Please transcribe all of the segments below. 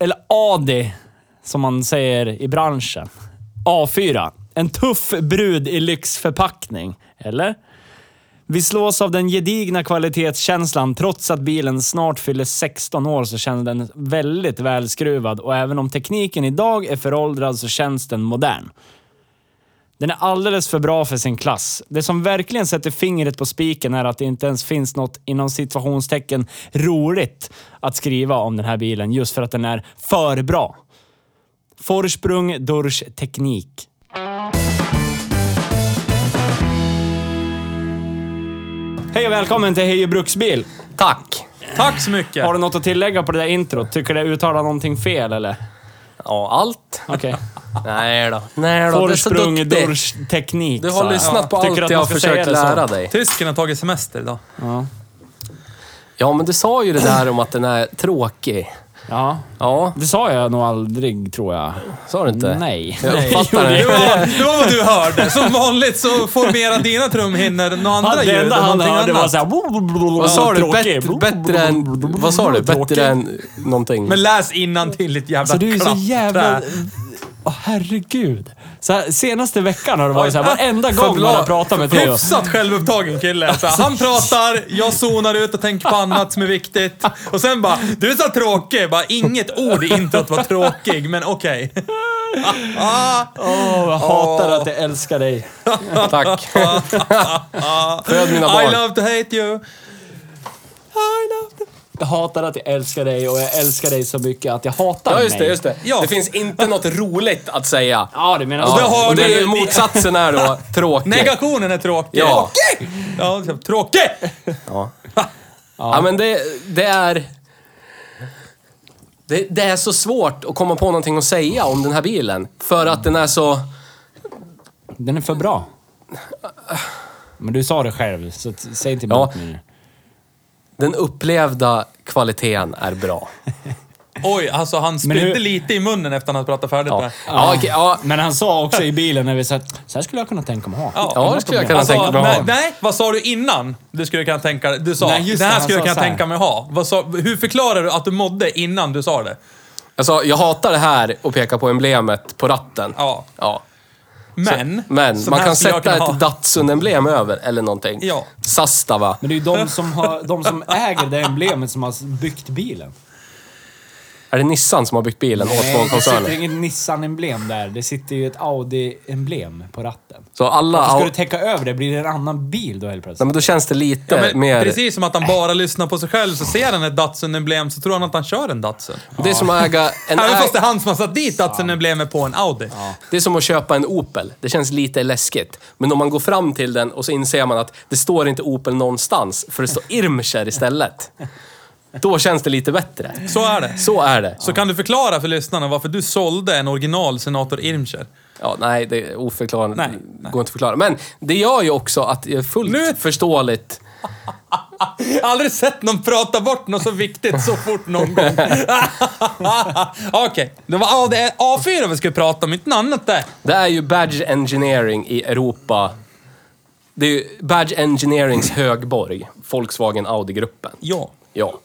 eller Adi, som man säger i branschen. A4. En tuff brud i lyxförpackning, eller? Vi slås av den gedigna kvalitetskänslan. Trots att bilen snart fyller 16 år så känns den väldigt välskruvad och även om tekniken idag är föråldrad så känns den modern. Den är alldeles för bra för sin klass. Det som verkligen sätter fingret på spiken är att det inte ens finns något inom situationstecken roligt att skriva om den här bilen just för att den är för bra. Forsprung durch Teknik. Hej och välkommen till Hej och Bruksbil. Tack! Tack så mycket! Har du något att tillägga på det där introt? Tycker du jag uttalar någonting fel eller? Ja, allt. Okej. Nej då. Nej då, du är så Forsprung duktig. durch Teknik. Du sa har jag. lyssnat på Tycker allt du att jag man har ska säga försökt det så? lära dig. Tysken har tagit semester idag. Ja. Ja, men du sa ju det där om att den är tråkig. ja. Ja, Det sa jag nog aldrig, tror jag. sa du inte? Nej. Jag uppfattar Det det. var, det var vad du hörde. Som vanligt så formerar dina trumhinnor några andra Han, det ljud enda och han någonting hörde var annat. såhär... Vad sa du? Bättre, bättre än... Vad sa du? Bättre än någonting? Men läs innan till ditt jävla Så du är ju så klappträ. jävla... Åh, herregud. Så här, senaste veckan har det varit såhär, varenda gång man Förbla- har pratat med Theo. Hyfsat självupptagen kille. Så han pratar, jag zonar ut och tänker på annat som är viktigt. Och sen bara, du är så tråkig. Bara, inget ord i introt var tråkig, men okej. Åh, jag hatar att jag älskar dig. Tack. Föd mina I barn. love to hate you. Jag hatar att jag älskar dig och jag älskar dig så mycket att jag hatar Ja, just det. mig. Just det. Ja. det finns inte något roligt att säga. Ja, det menar Ja. Alltså, jag. det har Och det du- är ju motsatsen är då tråkig. Negationen är tråkig. Ja. Tråkig! Ja, så- tråkig! Ja. ja, men det, det är... Det, det är så svårt att komma på någonting att säga om den här bilen. För att den är så... Den är för bra. Men du sa det själv, så t- säg inte Ja. emot mig nu. Den upplevda kvaliteten är bra. Oj, alltså han Men spydde hur- lite i munnen efter han hade pratat färdigt Ja, där. ja, okej, ja. Men han sa också i bilen när vi satt, så här skulle jag kunna tänka mig att ha. ja det skulle jag kunna Alltså, tänka bra nej, om. nej, vad sa du innan du skulle kunna tänka dig? Du sa, Nej, just det det, här han skulle jag sa kunna så här. tänka mig ha. Vad sa, hur förklarar du att du mådde innan du sa det? Alltså, jag hatar det här och peka på emblemet på ratten. Ja. ja. Men, Men så man här kan skulle jag sätta kunna ett Datsun-emblem över eller någonting. Ja. Sastava. Men det är ju de som, har, de som äger det emblemet som har byggt bilen. Är det Nissan som har byggt bilen åt det sitter Volvo-koncernen? inget Nissan-emblem där. Det sitter ju ett Audi-emblem på ratten. Så alla... Ska Ja, du täcka över det? Blir det en annan bil då helt nej, plötsligt? men då känns det lite Ja, men mer... Precis som att han bara lyssnar på sig själv, så ser han ett Datsun-emblem så tror han att han kör en Datsun. Det är som att äga en... Även ä- fast det är han som har satt dit Datsun-emblemet på en Audi. Det är som att köpa en Opel. Det känns lite läskigt. Men om man går fram till den och så inser man att det står inte Opel någonstans, för det står Irmscher istället. Då känns det lite bättre. Så är det. Så är det. Så kan du förklara för lyssnarna varför du sålde en original Senator Irmscher? Ja, nej, det är oförklarligt. Nej, nej. Går inte att förklara. Men det gör ju också att det är fullt Nu- förståeligt. Jag har aldrig sett någon prata bort något så viktigt så fort någon gång. Okej, det var A- det är A4 vi skulle prata om, inte något annat där. Det är ju Badge Engineering i Europa. Det är ju Badge Engineerings högborg, Volkswagen Audi-gruppen. Ja. Ja.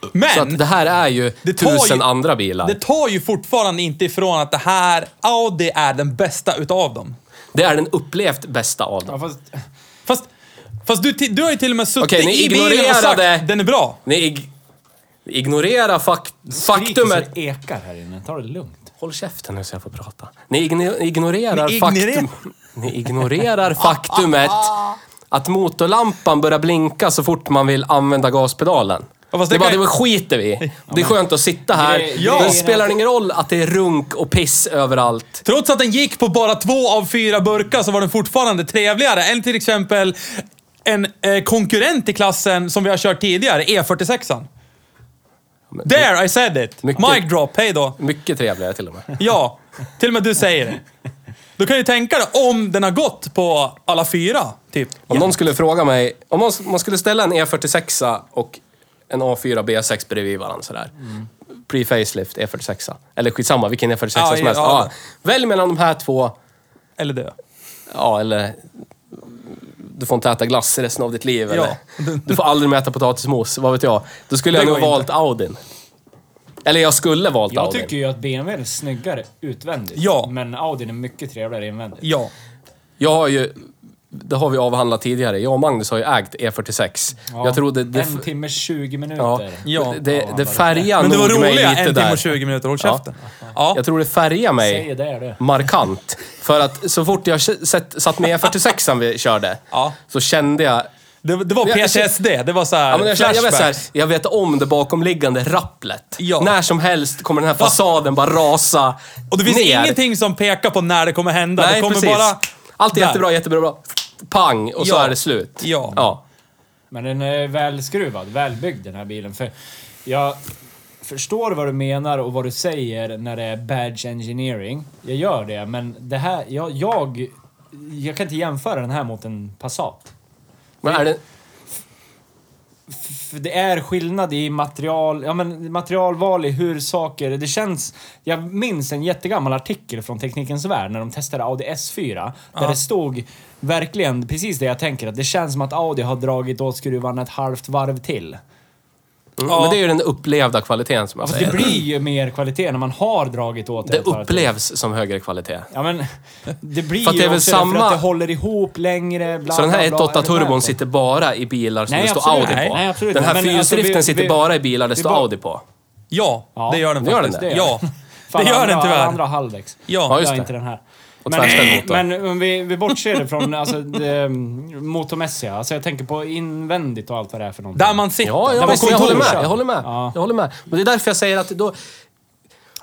Så att Men! det här är ju Det tar ju- tusen andra bilar. Det tar ju fortfarande inte ifrån att det här Audi är den bästa utav dem. Det är den upplevt bästa av dem. Ja, fast, Fast, fast du, ti- du har ju till och med suttit Okej, ni i bilen och ignorerade- sagt den är bra. Ni ig ignorerar fakt Faktumet... faktumet. Det ekar här inne. Ta det lugnt. Håll käften nu så jag får prata. Ni igno- ignorerar, Ni ignorerar- faktum... Ni ignorerar faktumet att motorlampan börjar blinka så fort man vill använda gaspedalen. Ja, fast det, det är bara, kan- det skiter vi i. Det är skönt att sitta här. Gre- Ja. Det spelar ingen roll att det är runk och piss överallt. Trots att den gick på bara två av fyra burkar så var den fortfarande trevligare än till exempel en eh, konkurrent i klassen som vi har kört tidigare, E46an. There, I said it! Mycket. Mic drop, hej då. Mycket trevligare till och med. Ja, till och med du säger det. Då kan du tänka dig om den har gått på alla fyra, typ. Om någon skulle fråga mig, om man, man skulle ställa en E46 och en A4 B6 bredvid varandra sådär. Pre-facelift E46. Eller skitsamma, vilken Mm. E46 Ja, som helst. ja. Ja. Välj mellan de här två. Eller dö. Ja, eller... Du får inte äta glass resten av ditt liv. Ja. Eller, du får aldrig mer äta potatismos, vad vet jag. Då skulle jag Det nog går valt Audin. Eller jag skulle valt Jag Audin. tycker ju att BMW är snyggare utvändigt. Ja. Men Audin är mycket trevligare invändigt. Ja. Jag har ju... Det har vi avhandlat tidigare. Jag och Magnus har ju ägt E46. Ja. Jag trodde... Det, En timme 20 minuter. ja, Ja. det, det, det färgar Men det var nog mig roliga lite en timme där. och 20 minuter, håll Ja. käften. Ja. Jag tror det färgar mig Säger det du. markant. För att så fort jag k- sett, satt med E46 vi körde, Ja. så kände jag... Det, det var Jag- jag- PTSD, det var såhär Ja, men jag, kände, jag, vet så här, flashbacks. jag vet om det bakomliggande rapplet. Ja. När som helst kommer den här fasaden bara rasa Och det finns ner. ingenting som pekar på när det kommer hända. Nej, det kommer precis. bara... Allt är Där. jättebra, jättebra, bra. Pang, och så Ja. är det slut. Ja. ja. Men den är välskruvad, välbyggd den här bilen. För jag förstår vad du menar och vad du säger när det är badge engineering. Jag gör det, men det här... Jag, jag, jag kan inte jämföra den här mot en Passat. Men är det, För det är skillnad i material, ja men materialval i hur saker... Det känns... Jag minns en jättegammal artikel från Teknikens Värld när de testade Audi S4. Där det stod verkligen precis det jag tänker, att det känns som att Audi har dragit åt skruvarna ett halvt varv till. mm, men det är ju den upplevda kvaliteten som jag Fast det säger. blir ju mer kvalitet när man har dragit åt Det ett varv till. upplevs som högre kvalitet. Ja men, det blir För att det är ju väl också samma- det för att det håller ihop längre, bla, Så den här bla, bla. 1.8 Är du med på? turbon sitter bara i bilar som Nej, det står absolut. Audi Nej, på. nej, absolut. Den här Men alltså, fyrhjulsdriften vi- sitter vi- bara i bilar det står bara- Audi på. Ja, Ja, det gör den det gör faktiskt. den det. ja. Fan, det gör den andra- tyvärr. Andra halvväx. Ja. Ja, jag just har det. inte den här. Och tvärställd motor. men om vi, vi bortser ifrån alltså, det, motormässiga. Alltså, jag tänker på invändigt och allt vad det är för någonting. Där man sitter. Ja, där ja man visst, jag håller med. kontor. Jag håller med. Ja. Jag håller med. Men det är därför jag säger att då...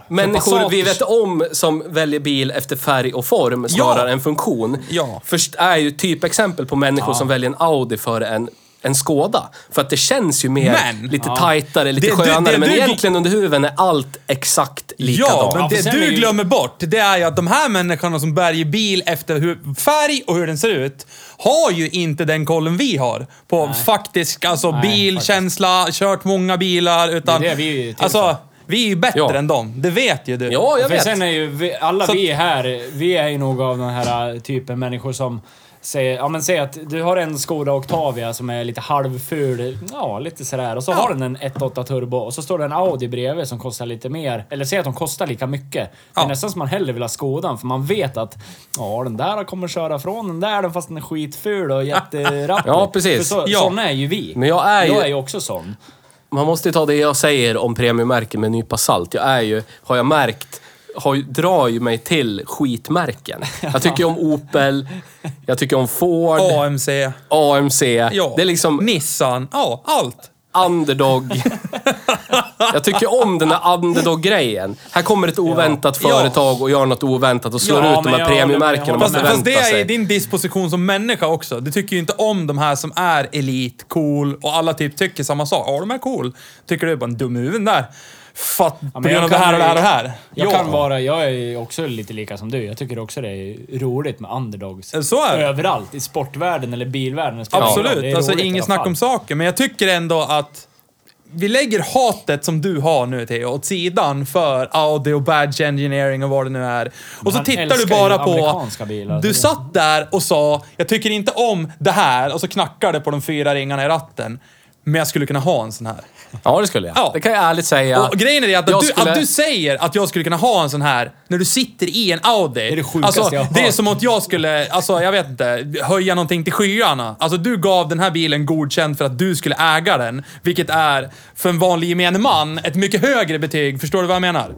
Människor Passat- vi vet om som väljer bil efter färg och form snarare än funktion. Ja. Först är ju typexempel på människor som väljer en Audi före en, en Skoda. För att det känns ju mer Men- lite tajtare, lite Det- det- skönare. det men du- egentligen under huven är allt exakt likadant. Ja, men Ja, för det sen är du ju- glömmer bort, det är ju att de här människorna som bär i bil efter hur, färg och hur den ser ut, har ju inte den kollen vi har på faktisk alltså, Nej, bilkänsla, kört många bilar, utan... Det är det vi är till Alltså, vi är ju bättre Ja. än dem. Det vet ju du. Ja, jag För vet. sen är ju vi, alla Så- vi här, vi är ju nog av den här äh, typen människor som säger, ja men säg att du har en Skoda Octavia som är lite halvful, ja lite sådär. Och så har den en 1.8 turbo och så står det en Audi bredvid som kostar lite mer, eller säg att de kostar lika mycket. Det är Ja. nästan som man hellre vill ha Skodan för man vet att, ja den där kommer köra från den där den fast den är skitful och jätterapplig. Ja, precis. För så, Ja. Såna är ju vi. Men jag är ju- Jag är ju också sån. Man måste ju ta det jag säger om premiummärken med en nypa salt. Jag är ju, har jag märkt, har, ju- drar ju mig till skitmärken. Jag tycker om Opel, jag tycker om Ford, AMC, AMC. ja. Det är liksom Nissan, ja, allt. underdog. Jag tycker om den här underdog-grejen. Här kommer ett oväntat Ja. företag och gör något oväntat och slår Ja, ut de men här jag håller med, premiummärkena jag man Fast, fast det förväntar är i sig. din disposition som människa också. Du tycker ju inte om de här som är elit, cool och alla typ tycker samma sak. Ja, de är cool. Tycker du är bara en dum i huvudet där. Fatt på men grund jag av det kan här och det här och ju- det här. Jag Ja. kan vara, jag är ju också lite lika som du. Jag tycker också det är roligt med underdogs. Så är det. Överallt, i sportvärlden eller bilvärlden. Det spelar ingen roll, Absolut, det är alltså roligt i alla inget snack fall. om saker. Men jag tycker ändå att vi lägger hatet som du har nu Theo åt sidan för Audi och badge engineering och vad det nu är. Och så han tittar du älskar bara ju på... amerikanska bilar, Du så det- satt där och sa, jag tycker inte om det här och så knackar det på de fyra ringarna i ratten. Men jag skulle kunna ha en sån här. Ja, det skulle jag. Ja. Det kan jag ärligt säga. Och grejen är det att, Jag att, du, skulle- att du säger att jag skulle kunna ha en sån här när du sitter i en Audi. är det sjukaste alltså, jag har Det är hört. som att jag skulle, alltså jag vet inte, höja någonting till skyarna. Alltså du gav den här bilen godkänd för att du skulle äga den. Vilket är, för en vanlig gemene man, ett mycket högre betyg. Förstår du vad jag menar?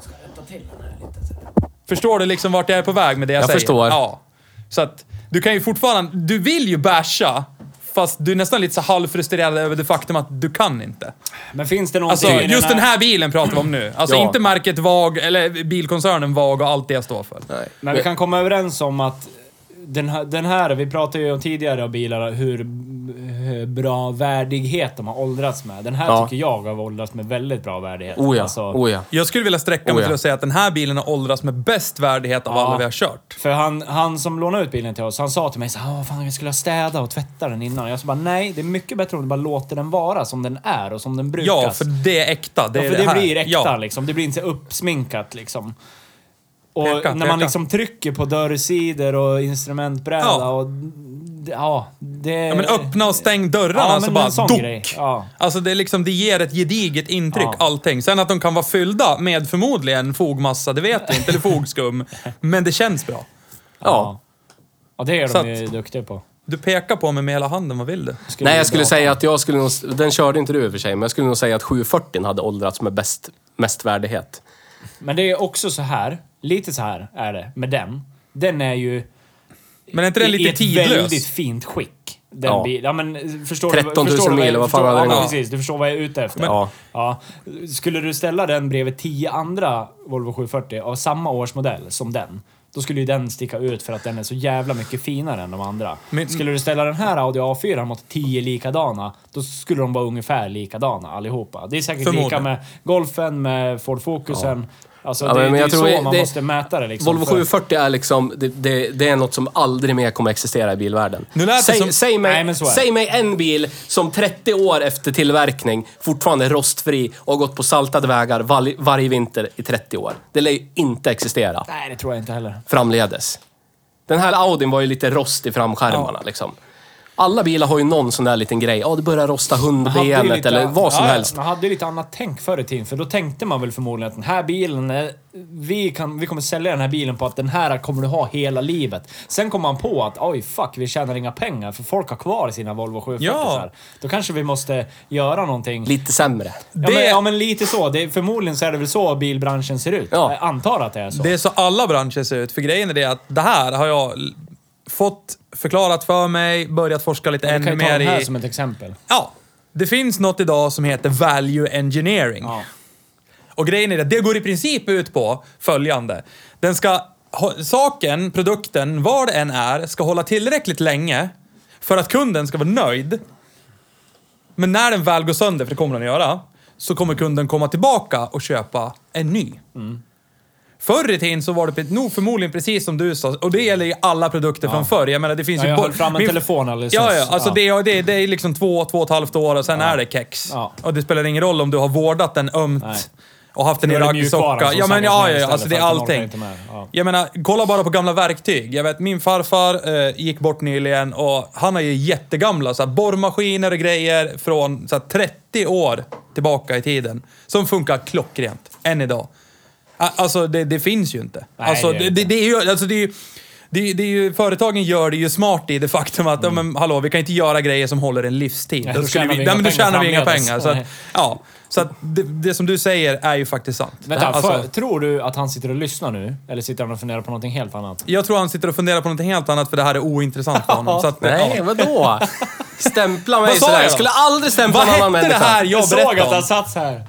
Förstår du liksom vart jag är på väg med det jag, Jag säger? förstår. Ja. Så att du kan ju fortfarande... Du vill ju basha, fast du är nästan lite så halvfrustrerad över det faktum att du kan inte. Men finns det någonting Alltså, i just den här bilen pratar vi om nu. Alltså Ja. inte märket VAG, eller bilkoncernen VAG och allt det jag står för. Nej. Men vi kan komma överens om att den här, den här, vi pratade ju om tidigare om bilar, hur b- hur bra värdighet de har åldrats med. Den här Ja. tycker jag har åldrats med väldigt bra värdighet. Oh ja, Alltså, oh ja. Jag skulle vilja sträcka mig Oh ja. till att säga att den här bilen har åldrats med bäst värdighet av Ja. alla vi har kört. För han, han som lånade ut bilen till oss, han sa till mig så här, "Åh, fan vi skulle städa och tvätta den innan. Jag sa bara, nej, det är mycket bättre om du bara låter den vara som den är och som den brukas. Ja, för det är äkta. Det, Ja, är för det, här. blir äkta Ja. liksom. Det blir inte uppsminkat liksom. Och Peka, när peka. man liksom trycker på dörrsidor och instrumentbräda Ja. och... d- Ja, det... Ja, men öppna och stäng dörrarna Ja, alltså men bara en sån dock. grej. Ja. Alltså det, är liksom, det ger ett gediget intryck, Ja. allting. Sen att de kan vara fyllda med förmodligen fogmassa, det vet vi inte, eller fogskum. Men det känns bra. Ja. Ja, det är Så att- de ju duktiga på. Du pekar på mig med hela handen, vad vill du? Nej, jag skulle bra. säga att jag skulle nog, den körde inte du i och för sig, men jag skulle nog säga att 740 hade åldrats med bäst, mest värdighet. Men det är också så här, lite så här är det med den. Den är ju Men är inte den i lite ett tidlös? väldigt fint skick. Den Ja. ja. Bil, ja, men, förstår 13 000 du, förstår du, mil, vad fan förstår, hade den ja, gått? men precis, du förstår vad jag är ute efter. Ja. Ja. Skulle du ställa den bredvid 10 andra Volvo 740 av samma årsmodell som den, då skulle ju den sticka ut för att den är så jävla mycket finare än de andra. Men- skulle du ställa den här Audi A4 mot 10 likadana, då skulle de vara ungefär likadana allihopa. Det är säkert lika Förmodligen. med Golfen, med Ford Focusen. Alltså, Ja, det, men det är jag ju tror så det- man det- måste mäta det liksom. Volvo för- 740 är liksom, det, det, det är något som aldrig mer kommer existera i bilvärlden. Nu lät det säg, som- säg, mig, Nej, men så är det. säg mig en bil som 30 år efter tillverkning fortfarande är rostfri och har gått på saltade vägar val, varje vinter i 30 år. Det lär ju inte existera Nej, det tror jag inte heller. framledes. Den här Audin var ju lite rost i framskärmarna liksom. Alla bilar har ju någon sån där liten grej. Ja, det börjar rosta hade ju hundbenet lite- eller vad som ja, ja, helst. Man hade ju lite annat tänk förr i tiden, för då tänkte man väl förmodligen att den här bilen, eh, vi, kan, vi kommer sälja den här bilen på att den här kommer du ha hela livet. Sen kom man på att oj fuck, vi tjänar inga pengar för folk har kvar sina Volvo 740 Ja. ja. Då kanske vi måste göra någonting. Lite sämre. Ja, Det- men, ja men lite så. Det, förmodligen så är det väl så bilbranschen ser ut. Ja. Jag antar att det är så. Det är så alla branscher ser ut. För grejen är det att det här har jag l- fått förklarat för mig, börjat forska lite Vi kan ännu ju ta mer den här i. som ett exempel. Ja. Det finns något idag som heter value engineering. Ja. Och grejen är det, det går i princip ut på följande. Den ska, hå- saken, produkten, vad det än är, ska hålla tillräckligt länge för att kunden ska vara nöjd. Men när den väl går sönder, för det kommer den att göra, så kommer kunden komma tillbaka och köpa en ny. Mm. Förr i tiden så var det pre- nog förmodligen precis som du sa, och det gäller i alla produkter från förr. Jag menar, det finns Ja, ju... jag bo- höll fram en min- telefon alldeles Ja, nyss. ja. Alltså Ja. Det, är- det, är- det är liksom två, två och ett halvt år och sen är det kex. Ja. Och det spelar ingen roll om du har vårdat den ömt Nej. och haft den i Då är det raggsocka. mjukvaran som Ja, men samlas ja, med ja, ja, istället alltså det är för att den orkar allting. inte med. Ja. Jag menar, kolla bara på gamla verktyg. Jag vet, min farfar eh, gick bort nyligen och han har ju jättegamla så här, borrmaskiner och grejer från så här, 30 år tillbaka i tiden. Som funkar klockrent, än idag. A- Alltså, det, det finns ju inte. Nej, alltså, det, det gör det, det det är ju... Alltså, det är ju det, det är ju, företagen gör det ju smart i det faktum att, ja, men hallå, vi kan inte göra grejer som håller en livstid. Mm. Nej, då då skulle tjänar vi, vi nej, men inga då tjänar pengar vi inga framledes. pengar. Så att, Nej. ja, så att det, det som du säger är ju faktiskt sant. Vänta, Alltså- för, tror du att han sitter och lyssnar nu? Eller sitter han och funderar på någonting helt annat? Jag tror han sitter och funderar på något helt annat för det här är ointressant för honom. Så att, Nej, ja. vadå? Stämpla mig Vad sa sådär. jag Jag då? skulle aldrig stämpla Vad en annan hette det människa. här jag såg att berättade han om? satt så här.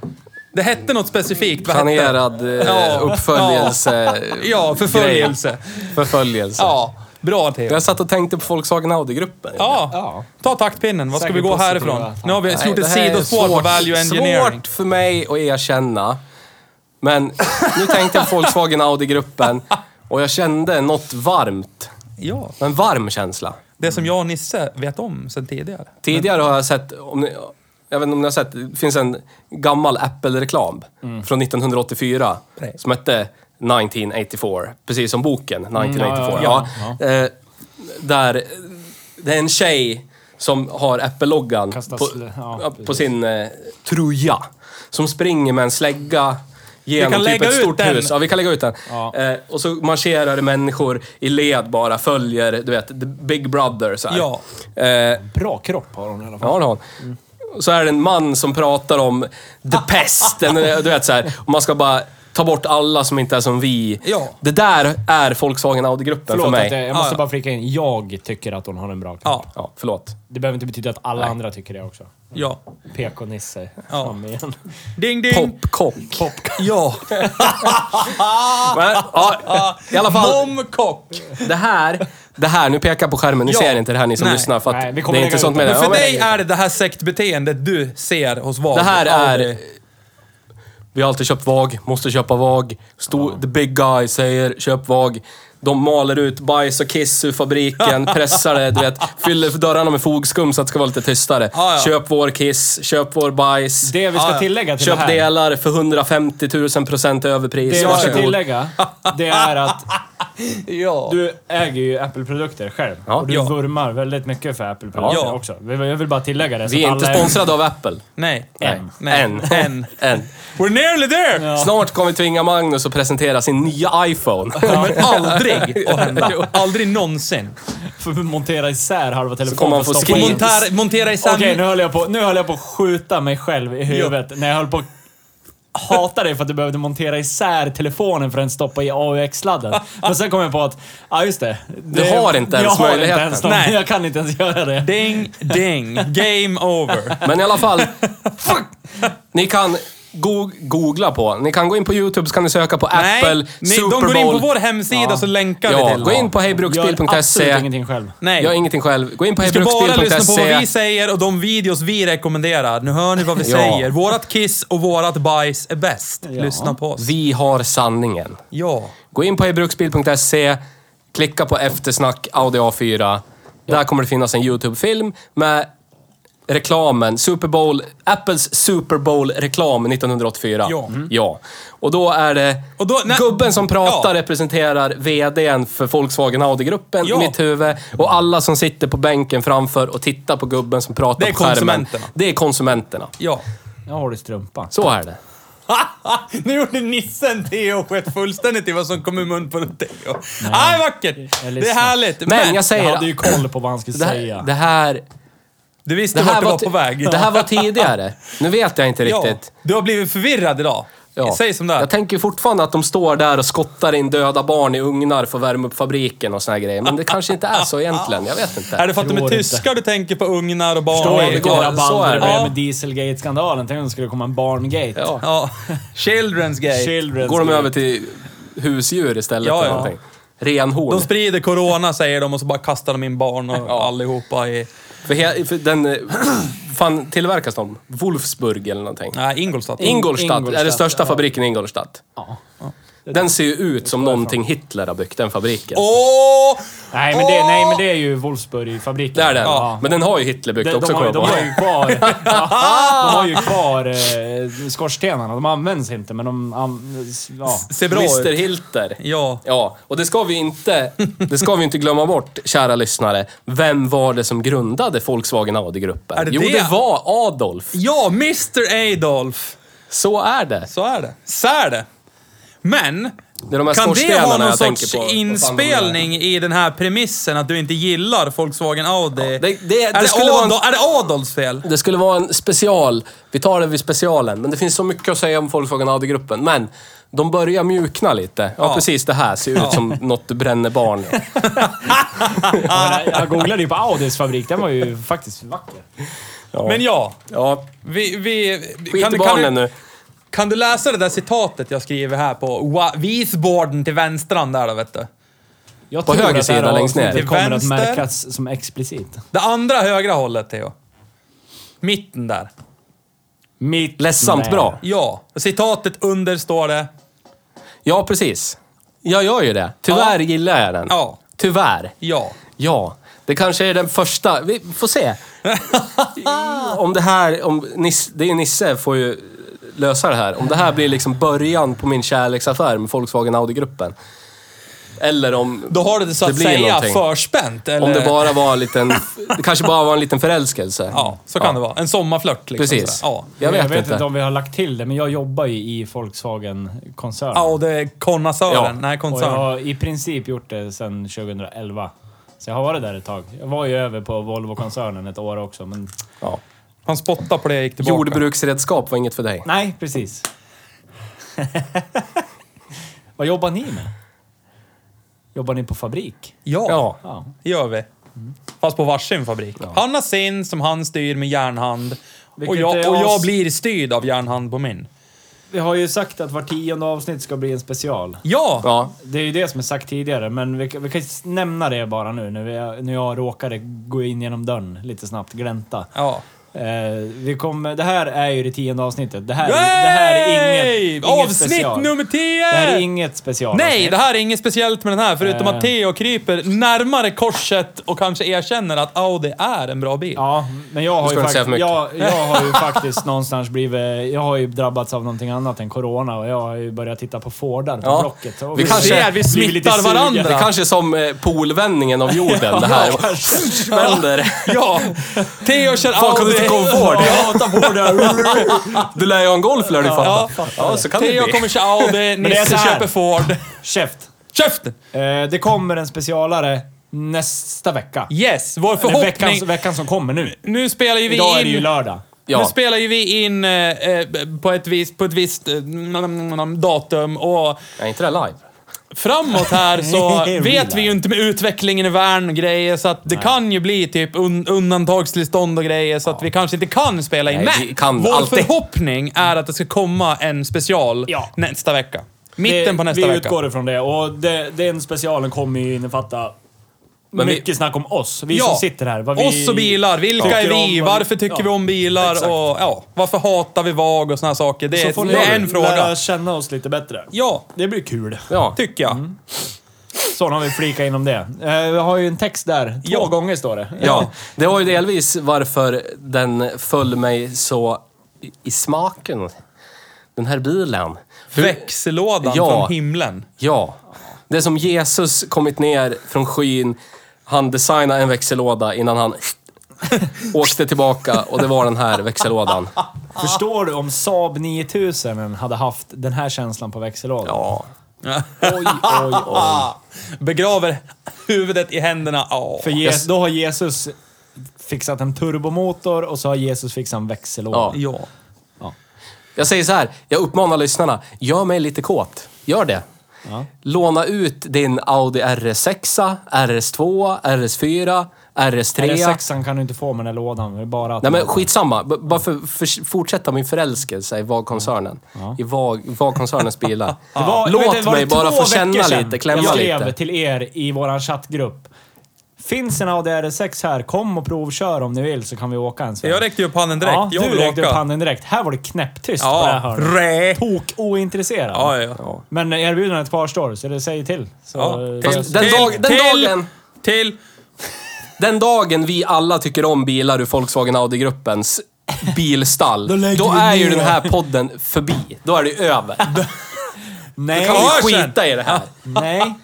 Det hette något specifikt. Vad hette det? Planerad eh, Ja. uppföljelse. Ja, förföljelse. grej. Förföljelse. Ja, bra Theo. Jag satt och tänkte på Volkswagen Audi-gruppen. Ja, Ja. ta taktpinnen. Vad ska vi Säkert gå positiva härifrån? tankar. Nu har vi Nej, gjort det ett här är sidospår på svårt- value engineering. Svårt för mig att erkänna. Men nu tänkte jag på Volkswagen Audi-gruppen och jag kände något varmt. Ja, En varm känsla. det som jag och Nisse vet om sedan tidigare. Tidigare har jag sett, om ni, jag vet inte om ni har sett, det finns en gammal Apple-reklam Mm. från 1984 Nej. som hette 1984, precis som boken 1984. Mm, ja, ja, Eh, där eh, det är en tjej som har Apple-loggan Kastas- på, ja, ja, på precis. sin eh, tröja. Som springer med en slägga kan genom typ lägga ett ut stort den. hus. Ja, vi kan lägga ut den. Ja. Eh, och så marscherar det människor i led bara, följer, du vet, the Big Brother så här. Ja. Eh, Bra kropp har hon i alla fall. Ja, det har hon. Ah. Så är det en man som pratar om the pest. Den, du vet så här, och man ska bara Ta bort alla som inte är som vi. Ja. Det där är Volkswagen Audi-gruppen för Förlåt, mig. att jag, jag måste Ja, ja. bara flika in. Jag tycker att hon har en bra kropp. Ja, Ja, förlåt. Det behöver inte betyda att alla andra tycker det också. ja. PK-Nisse. Ja. Fram igen. Ding, ding. Popkock. Ja. Men, ja, I alla fall, Momkock. det här, det här, nu pekar jag på skärmen, ni Ja. ser inte det här ni som Nej. lyssnar för att Nej, vi det kommer är lägga inte sånt ut med det. Men det. för Ja, men- dig är det det här sektbeteendet du ser hos Vag. Det här Aldrig. är... Vi har alltid köpt VAG, måste köpa VAG. Stor, The big guy säger köp VAG. De maler ut bajs och kiss ur fabriken, pressar det, du vet. Fyller dörrarna med fogskum så att det ska vara lite tystare. Ja, ja. Köp vår kiss, köp vår bajs. Det vi ska Ja, ja. tillägga till Köp det här. delar för 150 000 procent överpris. Det vi ska Varsågod. tillägga, det är att Ja. du äger ju Apple-produkter själv. Ja. Och du Ja. vurmar väldigt mycket för Apple-produkter Ja. också. Vi- Jag vill bara tillägga det. så Vi är att inte alla sponsrade av Apple. Nej. En. Nej. Än. En. Än. We're nearly there! Snart kommer vi tvinga Magnus att presentera sin nya iPhone. kommer aldrig att hända. Aldrig någonsin. Får vi montera isär halva telefonen. kommer man för att få stoppa skri- in- Montera, montera isär... Okej, nu, höll jag på- nu höll jag på att skjuta mig själv i huvudet när jag höll på att hata dig för att du behövde montera isär telefonen för att ens stoppa i AUX-sladden. Men sen kom jag på att, ja just det. det har inte ens jag har inte möjligheten. ens någon, Nej. Jag kan inte ens göra det. Ding, ding. Game over. Men i alla fall. fuck. ni kan go googla på. Ni kan gå in på YouTube så kan ni söka på Apple Nej, nej de Super Bowl. går in på vår hemsida så länkar vi Ja, till gå in dem. på Gör absolut hejbruksbil.se. ingenting själv. Nej. Gör ingenting själv. Gå in på Vi ska bara lyssna på vad hejbruksbil.se. vi säger och de videos vi rekommenderar. Nu hör ni vad vi Ja. säger. Vårat kiss och vårat bajs är bäst. Lyssna på oss. Vi har sanningen. Ja. Gå in på hejbruksbil.se. Klicka på eftersnack Audi A4. Där kommer det finnas en YouTube-film med reklamen, Super Bowl, Apples Super Bowl-reklam 1984. Ja. Mm. ja. Och då är det Och då- nej- gubben som Ja. pratar representerar VDn för Volkswagen Audi-gruppen Ja. i mitt huvud. Och alla som sitter på bänken framför och tittar på gubben som pratar Det är på skärmen. konsumenterna. Det är konsumenterna. Ja. Jag har det i strumpan. Så är det. nu gjorde nissen Theo skett fullständigt i vad som kom ur mun på Theo. Nej, vackert! jag Det är lyssnar. härligt. Men, Men jag Jag säger... hade ju koll på vad han skulle det säga. här, det här du visste Det vart här, du var var ti- på väg. det här var tidigare. Nu vet jag inte ja. riktigt. Du har blivit förvirrad idag. Ja. Säg som det är. Jag tänker fortfarande att de står där och skottar in döda barn i ugnar för att värma upp fabriken och såna här grejer. Men det kanske inte är så egentligen. Jag vet inte. Är det för att de är Tror inte. tyskar du tänker på ugnar och Förstår barn? du Ja, det vilket går. går- så rabalder det är det. blev Ja. med Dieselgate-skandalen? Tänk om det skulle komma en barngate. Ja. Ja. Children's gate. Children's Går de gate. över till husdjur istället? Ja, eller ja. någonting? Renhorn. De sprider corona säger de och så bara kastar de in barn och allihopa i... För, he- för den... eh, fan tillverkas de? Wolfsburg eller någonting? Nej, Ingolstadt. Ingolstadt, är den Ingolstadt, största fabriken i Ingolstadt. Ja. Den ser ju ut som någonting Hitler har byggt, den fabriken. Åh! Nej, men det, nej, men det är ju Wolfsburg-fabriken. Det är den. Ja. Men den har ju Hitler byggt De, de, också har, ju- kommer de jag på. har ju kvar, de har ju kvar eh, skorstenarna. De används inte, men de... an- ja. Ser bra Mr ut. Hilter. Ja. Ja, och det ska vi inte, det ska vi inte glömma bort, kära lyssnare. Vem var det som grundade Volkswagen Audi-gruppen? Är det jo, det? det var Adolf. Ja, Mr Adolf. Så är det. Så är det. Så är det. Men, Det är de här kan det skorstenarna ha någon jag tänker sorts på. Vad fan de inspelning i den här premissen att du inte gillar Volkswagen Audi? det- det- är, det det skulle vara en- Adol- är det Adolfs fel? Det skulle vara en special. Vi tar det vid specialen. Men det finns så mycket att säga om Volkswagen Audi-gruppen. Men de börjar mjukna lite. Ja, Ja. precis. Det här ser ut som något du bränner barn i. Jag, jag googlade ju på Audis fabrik. Den var ju faktiskt vacker. Ja. Men ja, ja. vi... vi Skit i du- barnen du, nu. Kan du läsa det där citatet jag skriver här på wa- visborden till vänstran där då, vet du? Jag På tror höger att det här sida längst ner. avsnittet Till kommer att vänster. märkas som explicit. Det andra högra hållet, Theo. Mitten där. Mitt Ledsamt Nej. bra. Ja. Citatet under står det... Ja, precis. Jag gör ju det. Tyvärr Ja. gillar jag den. Ja. Tyvärr. Ja. Ja, det kanske är den första. Vi får se. om det här, om Nisse, det är Nisse får ju lösa det här. Om det här blir liksom början på min kärleksaffär med Volkswagen Audi-gruppen. Eller om... Då har du det så att blir säga någonting. förspänt, eller? Om det bara var en liten... Det kanske bara var en liten förälskelse. Ja, så kan det vara. En sommarflört liksom. Precis. sådär. Ja. Jag vet, jag vet inte. inte. om vi har lagt till det, men jag jobbar ju i Volkswagen-koncernen. Ja, och det är konnässören. Ja. Nej, Och jag koncern. har i princip gjort det sedan 2011. Så jag har varit där ett tag. Jag var ju över på Volvo-koncernen ett år också, men... Ja. Han spottade på det och gick tillbaka. Jordbruksredskap var inget för dig. Nej, precis. Vad jobbar ni med? Jobbar ni på fabrik? Ja, Ja. Ja. det gör vi. Fast på varsin fabrik. Han har sin som han styr med järnhand. Och Vilket jag, är och jag as- blir styrd av järnhand på min. Vi har ju sagt att var tionde avsnitt ska bli en special. Ja! Ja. Det är ju det som är sagt tidigare, men vi, vi kan ju nämna det bara nu när, vi, när jag råkade gå in genom dörren lite snabbt, glänta. ja. Eh, vi kommer, det här är ju det tionde avsnittet. Det här, det här är Yay! inget, inget Avsnitt special. nummer Det här är tio! inget special. Nej, det här är inget speciellt med den här, förutom Eh. att Theo kryper närmare korset och kanske erkänner att Audi är en bra bil. Ja, men jag Nu har, ska ju du inte faktiskt, säga för mycket. jag, jag har ju faktiskt någonstans blivit... Jag har ju drabbats av någonting annat än corona och jag har ju börjat titta på Fordar på Ja. Blocket. Och Vi kanske- blivit- ser, vi blivit smittar lite sugen. varandra. Det kanske är som eh, polvändningen av jorden, det här. Vänder. Ja! Theo kör Fan, kan du inte Audi. komma på det? Jag hatar Fordar. Du lär ju ha en golf, lär du ju Ja, fatta. Ja, så kan det Theo bli. kommer köra Audi, det är så Nisse här. köper Ford. Käft! Käften! Eh, det kommer en specialare nästa vecka. Yes, vår Eller förhoppning... veckan, veckan som kommer nu. Nu spelar ju vi Idag är in... det ju lördag. Nu Ja. spelar ju vi in eh, eh, på ett visst, på ett visst eh, nam- nam- nam- datum och Är inte det live? framåt här så Real vet vi life. ju inte med utvecklingen i världen och grejer så att det kan ju bli typ un undantagstillstånd och grejer så att vi kanske inte kan spela in. Nej, Men vi kan vår alltid. förhoppning är att det ska komma en special Ja. nästa vecka. Mitten Det- på nästa vi vecka. utgår ifrån det och det, den specialen kommer ju innefatta Men vi- mycket snack om oss. Vi som sitter här. Vad vi Oss och bilar. Vilka tycker är vi? om, vad varför tycker ja. vi om bilar? Exakt. Och, ja, varför hatar vi VAG och såna saker? Det Så är, får ni det är en lära fråga. känna oss lite bättre. Ja, Det blir kul. Ja. tycker jag. Mm. Så, nu har vi flika inom det. Eh, vi har ju en text där. Två Ja. gånger står det. Ja, det var ju delvis varför den föll mig så i- i smaken. Den här bilen. Hur- Växellådan Ja. från himlen. Ja. Det är som Jesus kommit ner från skyn. Han designade en växellåda innan han åkte tillbaka och det var den här växellådan. Förstår du om Saab 9000 hade haft den här känslan på växellådan? Ja. Oj, oj, oj. Begraver huvudet i händerna. Ja. För Je- då har Jesus fixat en turbomotor och så har Jesus fixat en växellåda. Ja. ja. Jag säger så här, jag uppmanar lyssnarna. Gör mig lite kåt. Gör det. Låna ut din Audi RS6, RS2, RS4, RS3. RS6 kan du inte få med den här lådan. Det är bara att Nej men skitsamma. B- bara för, för, fortsätta min förälskelse i VAG-koncernen. I VAG- VAG-koncernens bilar. Det var, Låt vet du, var det mig bara två få känna veckor sedan lite, klämma Jag skrev lite. till er i våran chattgrupp. Finns en Audi RS6 här, kom och provkör om ni vill så kan vi åka en sväng. Jag räckte ju upp handen direkt. Ja, jag du vill räckte åka. upp handen direkt. Här var det knäpptyst på det här Ja. hörnet. Rä. Tok ointresserad. Ja, ja. ja. Men erbjudandet kvarstår, så det säger till. Så, ja. eh, den dag- den dagen- Till... Den dagen vi alla tycker om bilar ur Volkswagen Audi-gruppens bilstall, Då lägger då vi är ju ner. den här podden förbi. Då är det ju över. nej, Kan Ja, vi sen. skita i det här? nej.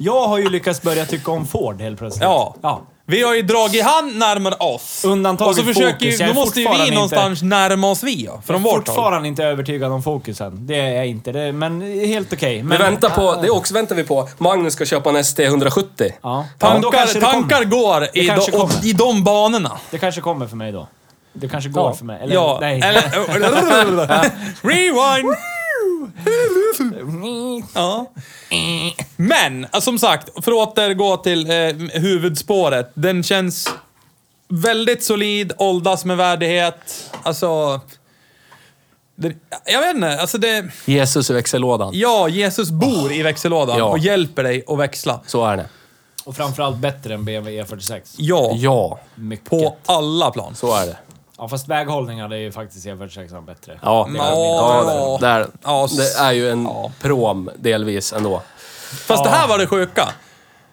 Jag har ju lyckats börja tycka om Ford helt plötsligt. Ja. Vi har ju dragit hand närmare oss. Undantaget Och så försöker fokus. ju, Jag då är måste ju fortfarande vi inte- någonstans närma oss vi ja, från Jag är vårt håll. fortfarande inte övertygad om fokusen. Det är jag inte. Det, men helt okej. Vi Men, väntar på, det också väntar vi på, Magnus ska köpa en ST170. Ja. Men då Tankar, kanske det kommer. tankar går i, kanske de- och, kommer. i de banorna. Det kanske kommer för mig då. Det kanske går för mig. Eller ja. nej. Eller, rewind! ja. Men, eh, som sagt, för att återgå till eh, huvudspåret. Den känns väldigt solid, åldras med värdighet. Alltså... Det, jag vet inte, alltså det... Jesus i växellådan. Ja, Jesus bor i växellådan Ja. och hjälper dig att växla. Så är det. Och framförallt bättre än BMW E46. Ja, Ja, Mycket. på alla plan. så är det. Ja, fast väghållningen är ju faktiskt E E46 bättre. Ja, det är, ja, det, är, Ja, det är ju en ja. prom delvis ändå. Fast det här var det sjuka.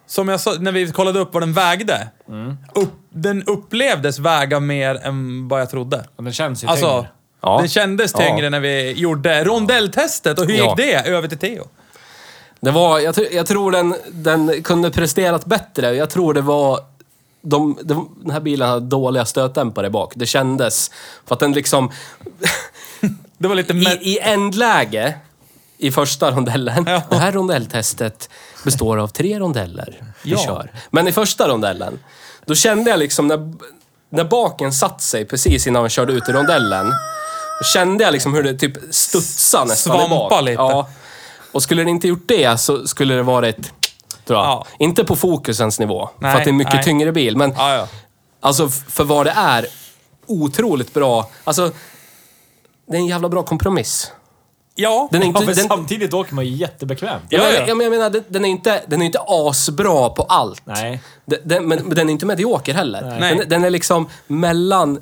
Som jag sa, när vi kollade upp vad den vägde. Mm. Upp, den upplevdes väga mer än vad jag trodde. Men den känns ju Alltså, tyngre. Ja. den kändes Ja. tyngre när vi gjorde rondelltestet. Och hur Ja. gick det över till Theo? Det var, jag, tr- jag tror den, den kunde presterat bättre. Jag tror det var... De, de, den här bilen hade dåliga stötdämpare bak. Det kändes. För att den liksom... Det var lite... men- I, i ändläge, i första rondellen. Ja. Det här rondelltestet består av tre rondeller vi Ja. kör. Men i första rondellen, då kände jag liksom när, när baken satt sig precis innan vi körde ut i rondellen. Då kände jag liksom hur det typ studsade nästan i bak. Svampa lite. Ja. Och skulle den inte gjort det så skulle det varit... Tror jag. Ja. Inte på fokusens nivå, Nej, för att det är en mycket nej. tyngre bil. Men Ja, ja. Alltså f- för vad det är, otroligt bra. Alltså, det är en jävla bra kompromiss. ja. Den är Ja, inte, men den, samtidigt åker man ju jättebekvämt. Ja, ja, ja. men- ja, men jag menar, den- den är inte, den är inte asbra på allt. Nej. Den, den, men, men den är inte medioker heller. Nej. Mm. Den, den är liksom mellan... d-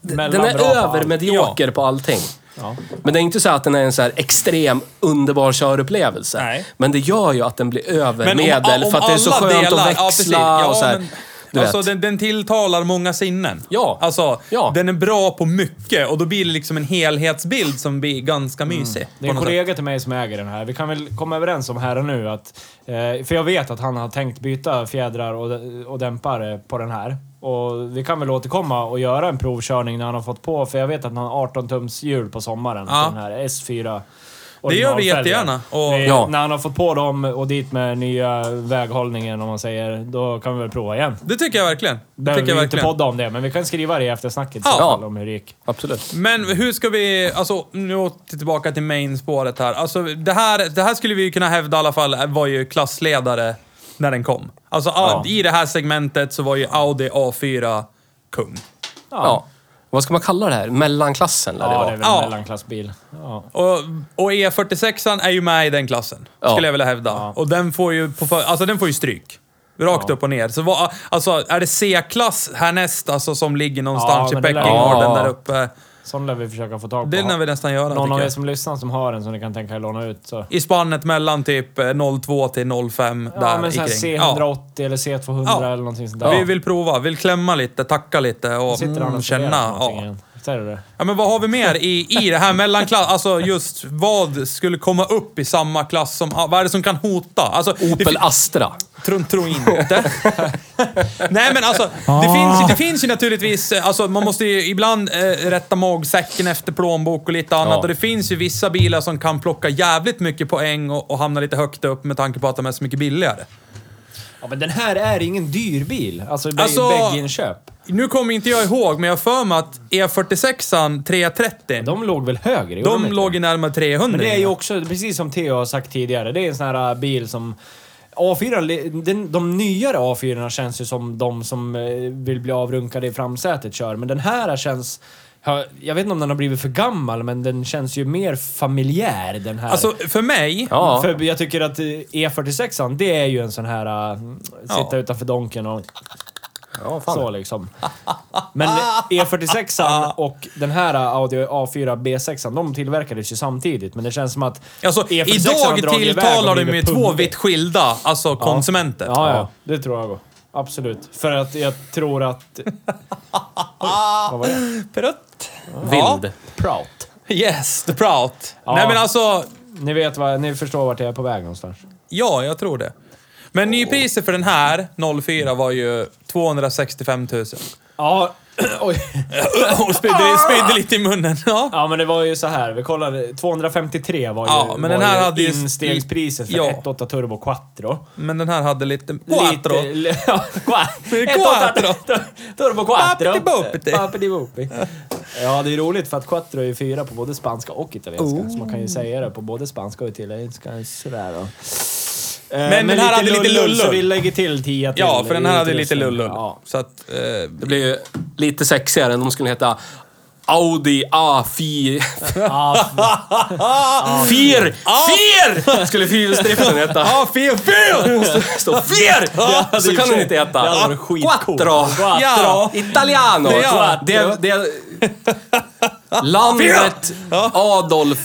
den Mellan är bra på allt. övermedioker på allting. Ja. Men det är inte så att den är en så här extrem, underbar körupplevelse. Nej. men det gör ju att den blir Men om- övermedel om för att det är så alla skönt delar- att ja, precis. växla Ja, och så här. men- Du Alltså vet. den, den tilltalar många sinnen. Ja. Alltså, Ja. den är bra på mycket och då blir det liksom en helhetsbild som blir ganska Mm. mysig. Det är på något en sätt. kollega till mig som äger den här. Vi kan väl komma överens om här och nu att... eh, För jag vet att han har tänkt byta fjädrar och, och dämpare på den här. Och vi kan väl återkomma och göra en provkörning när han har fått på, för jag vet att han har 18-tums hjul på sommaren. Ja. på Den här S4. Det gör vi originalfälgar. jättegärna. Och, Vi- Ja. När han har fått på dem och dit med nya väghållningen om man säger, då kan vi väl prova igen. det tycker jag verkligen. Det Behöver tycker vi jag inte verkligen. podda om det, men vi kan skriva det i eftersnacket i Ja. så fall om hur det gick. Absolut. Men hur ska vi, alltså nu åter tillbaka till main-spåret här. Alltså det här, det här skulle vi ju kunna hävda i alla fall eh, var ju klassledare när den kom. Alltså i det här segmentet så var ju Audi A4 kung. Ja. Vad ska man kalla det här? Mellanklassen lär det Ja, det är vara. väl Ja. en mellanklassbil. Ja. Och, och E46 är ju med i den klassen, Ja. skulle jag vilja hävda. Och den får ju, på, för- alltså den får ju stryk. Rakt upp och ner. Så vad, alltså, är det C-klass härnäst, alltså som ligger någonstans Ja, i men det lär- Beckingorden Ja. där uppe? Sån lär vi försöka få tag på. Det lär vi nästan göra, Någon av tycker er jag. som lyssnar som har en som ni kan tänka er låna ut så... I spannet mellan typ eh, 02 till 05, Ja, där men ikring. såhär Ja. C180 eller C200 Ja. eller någonting sånt där. Vi vill prova, vill klämma lite, tacka lite och Sitter han mm, och funderar på känna. någonting Ja. igen. Säger du det? ja, men vad har vi mer i, i det här mellanklass? Alltså just vad skulle komma upp i samma klass som... ah, Vad är det som kan hota? Alltså, det Opel Astra. Tror tro inte. Nej men alltså, det, finns, ju- det finns ju naturligtvis, eh, alltså man måste ju ibland eh, rätta magsäcken efter plånbok och lite annat. Ja. Och det finns ju vissa bilar som kan plocka jävligt mycket poäng och, och hamna lite högt upp med tanke på att de är så mycket billigare. Ja, men den här är ingen dyr bil. Alltså, bä- Alltså- bägginköp. Nu kommer inte jag ihåg, men jag har för mig att E46an 330, de, De låg väl högre? gjorde inte? låg ju närmare 300. Men det är ju också, precis som Theo har sagt tidigare, det är en sån här äh, bil som... A4, li- den, de nyare A4 känns ju som de som eh, vill bli avrunkade i framsätet kör, men den här känns... ja, Jag vet inte om den har blivit för gammal, men den känns ju mer familjär den här. Alltså för mig, Ja. För jag tycker att eh, E46an, det är ju en sån här... äh, Ja. sitta utanför Donken och ja, så liksom. Men E46an och den här äh, Audi A4 B6an, de tillverkades ju samtidigt. Men det känns som att... alltså E46 har idag dragit iväg tilltalar och de ju blivit två pumpig. vitt skilda, alltså konsumenter. Ja, ja. Det tror jag. Absolut. För att jag tror att... Oj, vad var det? Prutt. Ja. Vind. Prout. Yes, the Prout. Ja. Nej men alltså, Ni vet vad, ni förstår vart jag är på väg någonstans. ja jag tror det. Men nypriset för den här, 04, var ju 265 000. Ja, oj. Och spydde, Ah! spydde lite i munnen. Ja. Ja, men det var ju så här. Vi kollade. 253 var ju, Ja, men var den här ju hade ju- instegspriset för Ja. 1.8 Turbo Quattro. Men den här hade lite... Quattro. Lite, ja, qua- Quattro. Ett, åtta, Turbo quattro. Pappidi-boppidi. Pappidi-boppi. Ja, det är roligt för att quattro är ju fyra på både spanska och italienska. Oh. Så man kan ju säga det på både spanska och italienska. Sådär då. Eh, Men den här hade lite Så lullull. vi lägger till 10 till. Ja, för den här hade lite tusen. lullull. Ja. Så att... Eh, Det blir ju lite sexigare än om de skulle heta Audi A4... Ah! Fyr! Fyr! Skulle fyrhjulsdriften heta. ah, fel, fel! Stå fyr! Så kan den inte heta. det hade varit skitcoolt. Quattro! Ja. Italiano! Ja. Det, det, landet Adolf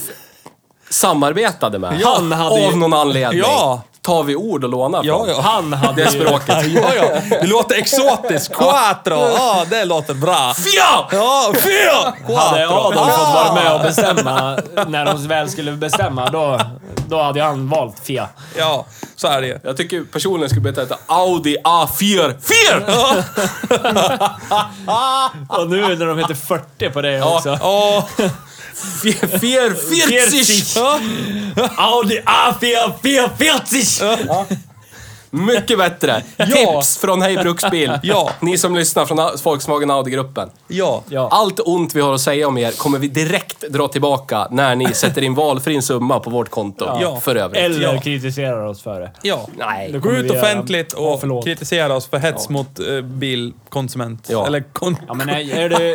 samarbetade med. Han hade ju- Av någon anledning. Ja. Tar vi ord och lånar från. Ja, ja. Han hade Det är ju- språket. Ja, ja. Det låter exotiskt. Quattro! Ja, det låter bra. Fyr! Ja, fel! Hade Quattro. Adolf fått vara med och bestämma, när de väl skulle bestämma, då, då hade ju han valt Fia. Ja, så är det ju. Jag tycker personligen skulle börja heta Audi A4. Fyr! Och nu när de heter 40 på det också. Åh, Fyr, fyr, fyrzig! Ah, Audi A440! Mycket bättre! Tips från Hej Bruksbil. Ja. Ni som lyssnar från Au- Volkswagen Audi-gruppen. Ja. Ja. Allt ont vi har att säga om er kommer vi direkt dra tillbaka när ni sätter in valfri summa på vårt konto. Ja. För övrigt. Eller Ja. kritiserar oss för det. ja. Nej. Då Gå kommer ut vi göra- offentligt Ja, och förlåt. kritisera oss för hets mot eh, bilkonsument. Ja. Eller kon- Ja, men är, är du...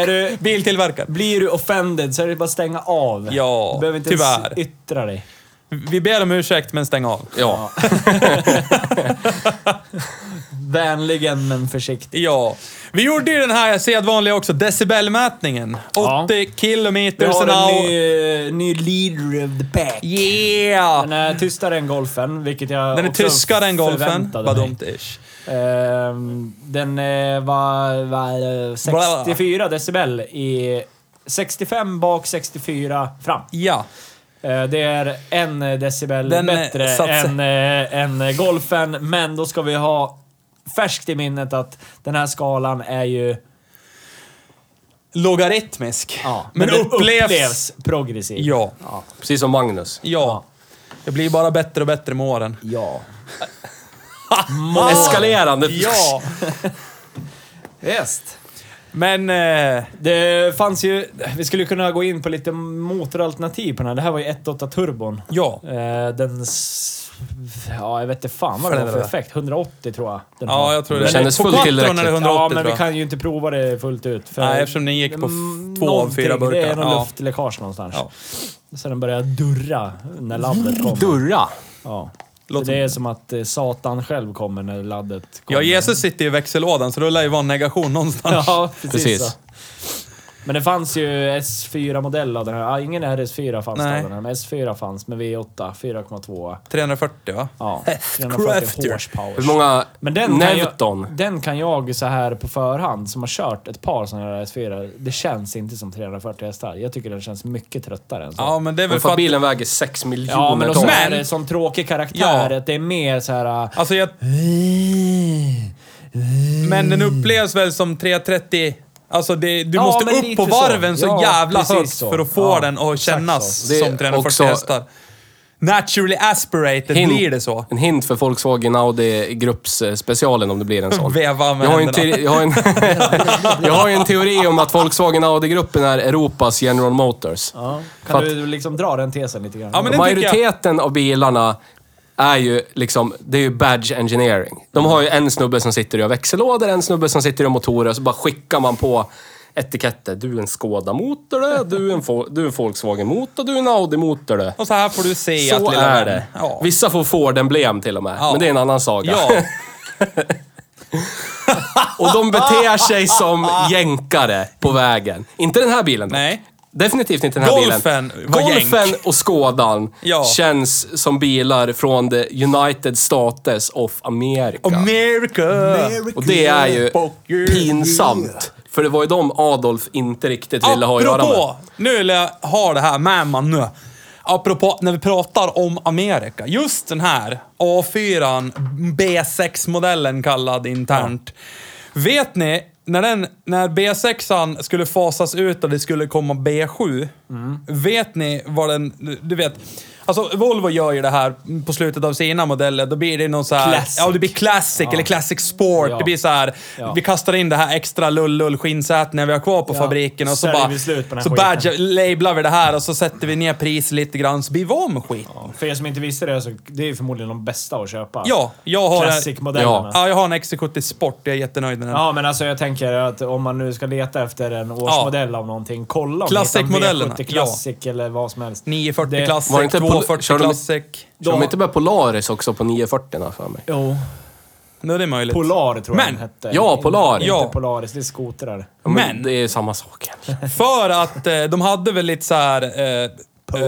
Är du biltillverkare. blir du offended så är det bara att stänga av. Ja, du behöver inte tyvärr. ens yttra dig. Vi ber om ursäkt, men stäng av. Ja. Vänligen men försiktigt. Ja. Vi gjorde ju den här sedvanliga också, decibelmätningen. 80 Ja. Vi kilometer har an en hour. ny, ny leader of the pack. Yeah! Den är tystare än golfen, vilket jag Den är också tyskare än golfen. förväntade Vad mig. dumt ish. Ehm, den eh, var, var eh, 64 decibel i 65 bak, 64 fram. Ja. Eh, Det är en decibel Den, eh, bättre satt sig. än, eh, än golfen, men då ska vi ha färskt i minnet att den här skalan är ju... Logaritmisk. Ja, men den upplevs... progressiv. Ja. Precis som Magnus. Ja. Det blir bara bättre och bättre med åren. Ja. Eskalerande. Ja. Visst. Men... Eh, Det fanns ju... Vi skulle kunna gå in på lite motoralternativ på den här. Det här var ju 1.8 turbon. ja. Eh, Den... s- Ja, jag vet inte fan vad det var för effekt. 180 tror jag. Den har. Ja, jag tror det. Det kändes På fullt quattron tillräckligt. är det 180 Ja, men tror vi jag. kan ju inte prova det fullt ut. För Nej, eftersom den gick på f- Mm, två av någonting. fyra burkar. Det är någon Ja. luftläckage någonstans. Ja. Så den börjar durra när laddet kommer. Durra. Ja. Låter- Det är som att eh, Satan själv kommer när laddet kommer. Ja, Jesus sitter ju i växellådan, så då lär ju vara en negation någonstans. Ja, precis. Precis. Så. Men det fanns ju S4-modell av den här. Ah, ingen RS4 fanns Nej. av den här, men S4 fanns med V8, 4,2. 340, va? Ja, Crafter. 340 Hur horsepower. många Men den kan, Nevton? jag, den kan jag så här på förhand, som har kört ett par sådana här S4, det känns inte som 340 hästar. Jag tycker den känns mycket tröttare än så. Ja, men det är väl Men för för att... bilen väger 6 miljoner Ja, men och ton. så Men- är det sån tråkig karaktär. Ja. Att det är mer så här... äh, Alltså, jag... Eh. Men den upplevs väl som 330... Alltså, det, du Ja, måste men upp lite på så. varven så, Ja, jävla precis högt så. för att få Ja, den att exakt kännas så. Det är som 340 också- hästar. Naturally aspirated Hint- blir det så. En hint för Volkswagen Audi Grupps eh, specialen om det blir en sån. Veva med jag har, ju en händerna. teori, jag, har en, jag har ju en teori om att Volkswagen Audi-gruppen är Europas General Motors. Ja. För Kan att- du liksom dra den tesen lite grann? Ja, men det tycker jag. Majoriteten av bilarna är ju liksom, det är ju badge engineering. De har ju en snubbe som sitter och gör växellådor, en snubbe som sitter och gör motorer, så bara skickar man på etiketter. Du är en Skoda-motor det, du är en, Fo- du är en Volkswagen-motor, du är en Audi-motor det. Och så här får du se Så att lilla är vän- det. Ja. Vissa får Ford-emblem till och med, Ja. men det är en annan saga. ja. Och de beter sig som jänkare på vägen. Inte den här bilen. dock. Nej. Definitivt inte den här Golfen bilen. var Golfen jänk. och Skådan Ja. känns som bilar från the United States of America. America! och det är ju pinsamt. För det var ju de Adolf inte riktigt ville ha att göra med. Apropå, nu vill jag ha det här med man nu. Apropå när vi pratar om Amerika. Just den här A4, B6-modellen kallad internt. Vet ni, när, den, när B6 skulle fasas ut och det skulle komma B7. Vet ni vad den... Du vet. Alltså Volvo gör ju det här på slutet av sina modeller. Då blir det någon så här... Classic. Ja, det blir classic eller classic sport. Ja. Det blir så här... Ja. Vi kastar in det här extra lullull skinnsätet när vi har kvar på Ja. fabriken och så Säljer bara... vi slut på den här så skiten. badge, lablar vi det här och så sätter vi ner pris lite grann så blir vi av med skiten. Ja. För er som inte visste det, så det är ju förmodligen de bästa att köpa. jag har... Classic-modellerna. Ja, jag har en XC70 Sport. Jag är jättenöjd med den. Ja, men alltså jag tänker att om man nu ska leta efter en årsmodell av någonting, kolla om Classic-modellerna, V70 Classic eller vad som helst. 940 Det- var det Classic, inte på- 240 körde de- Classic. Kör de Då- inte med Polaris också på 940 för mig? Jo. Nu är det möjligt. Polar tror jag Men- den hette. Ja, Polar. Inte Ja. Polaris, det är skotrar. Ja, men, Men- Det är ju samma sak egentligen. För att eh, de hade väl lite så här... Eh, Eh,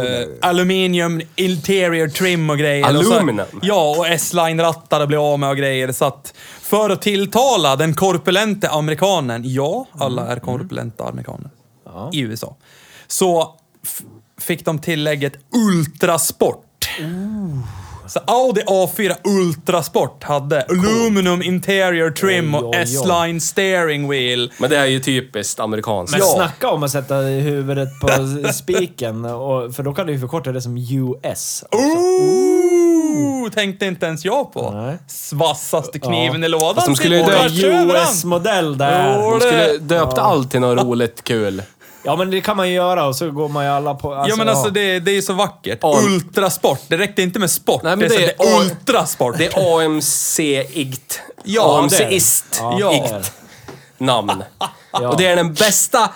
aluminium, interior trim och grejer. Aluminum? Och så, ja, och S-line-rattar blev av med och grejer. Så att för att tilltala den korpulente amerikanen, ja, alla Mm. är korpulenta amerikaner i USA, så f- fick de tillägget Ultrasport. Så Audi A4 Ultrasport hade aluminum interior trim Oj, och oj, oj. S-line steering wheel. Men det är ju typiskt amerikanskt. Men Ja. snacka om att sätta huvudet på spiken, och, för då kan du ju förkorta det som US. Ooh! Liksom. Ooh, tänkte inte ens jag på. Nej. Vassaste kniven i lådan. Typ Fast de skulle ju sitter dö- tvärs över den. US-modell där. Jo. De det- skulle döpt allt till något roligt kul. Ja, men det kan man ju göra och så går man ju alla på... ja men alltså det, det är ju så vackert. Ja. Ultrasport. Det räckte inte med sport. Nej, men det, är så, det är- det är ultrasport. Det är AMC-igt. Ja, AMC-ist. Ja. Igt. Namn. Och det är den bästa,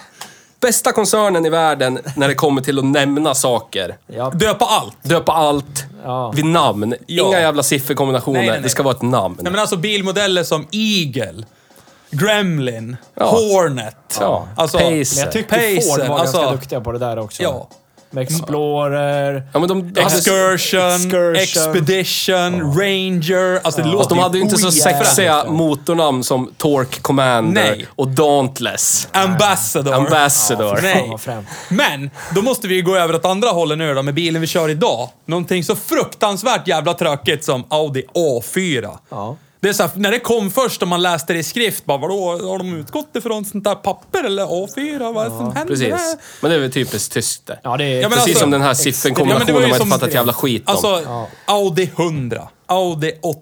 bästa koncernen i världen när det kommer till att nämna saker. Ja. Döpa allt. Döpa allt Ja. vid namn. Inga jävla sifferkombinationer. Nej, nej, nej. Det ska vara ett namn. Nej men alltså bilmodeller som Eagle, Gremlin, Ja. Hornet. Ja. Alltså, Pacer. Men jag tyckte Ford Pacer, var alltså- ganska duktiga på det där också. Ja. Med Explorer. Ja, men de, Excursion, Excursion. Expedition, Ranger. Alltså det Fast låter de hade ju inte så ojävligt. sexiga motornamn som Torque Commander Nej. och Dauntless. Ambassador. Ambassador. Nej. vad främt. Men, då måste vi ju gå över åt andra hållet nu då med bilen vi kör idag. Någonting så fruktansvärt jävla tråkigt som Audi A4. Ja. Det är så här, när det kom först och man läste det i skrift, bara vadå, har de utgått ifrån sånt där papper eller A4? Vad är det som händer? Precis. Men det är väl typiskt tyskt det. Ja, det är... Ja, men Precis alltså- som den här Ja, men det var sifferkombinationen ju man inte som- fattat jävla skit om. Alltså, Audi 100, Audi 80.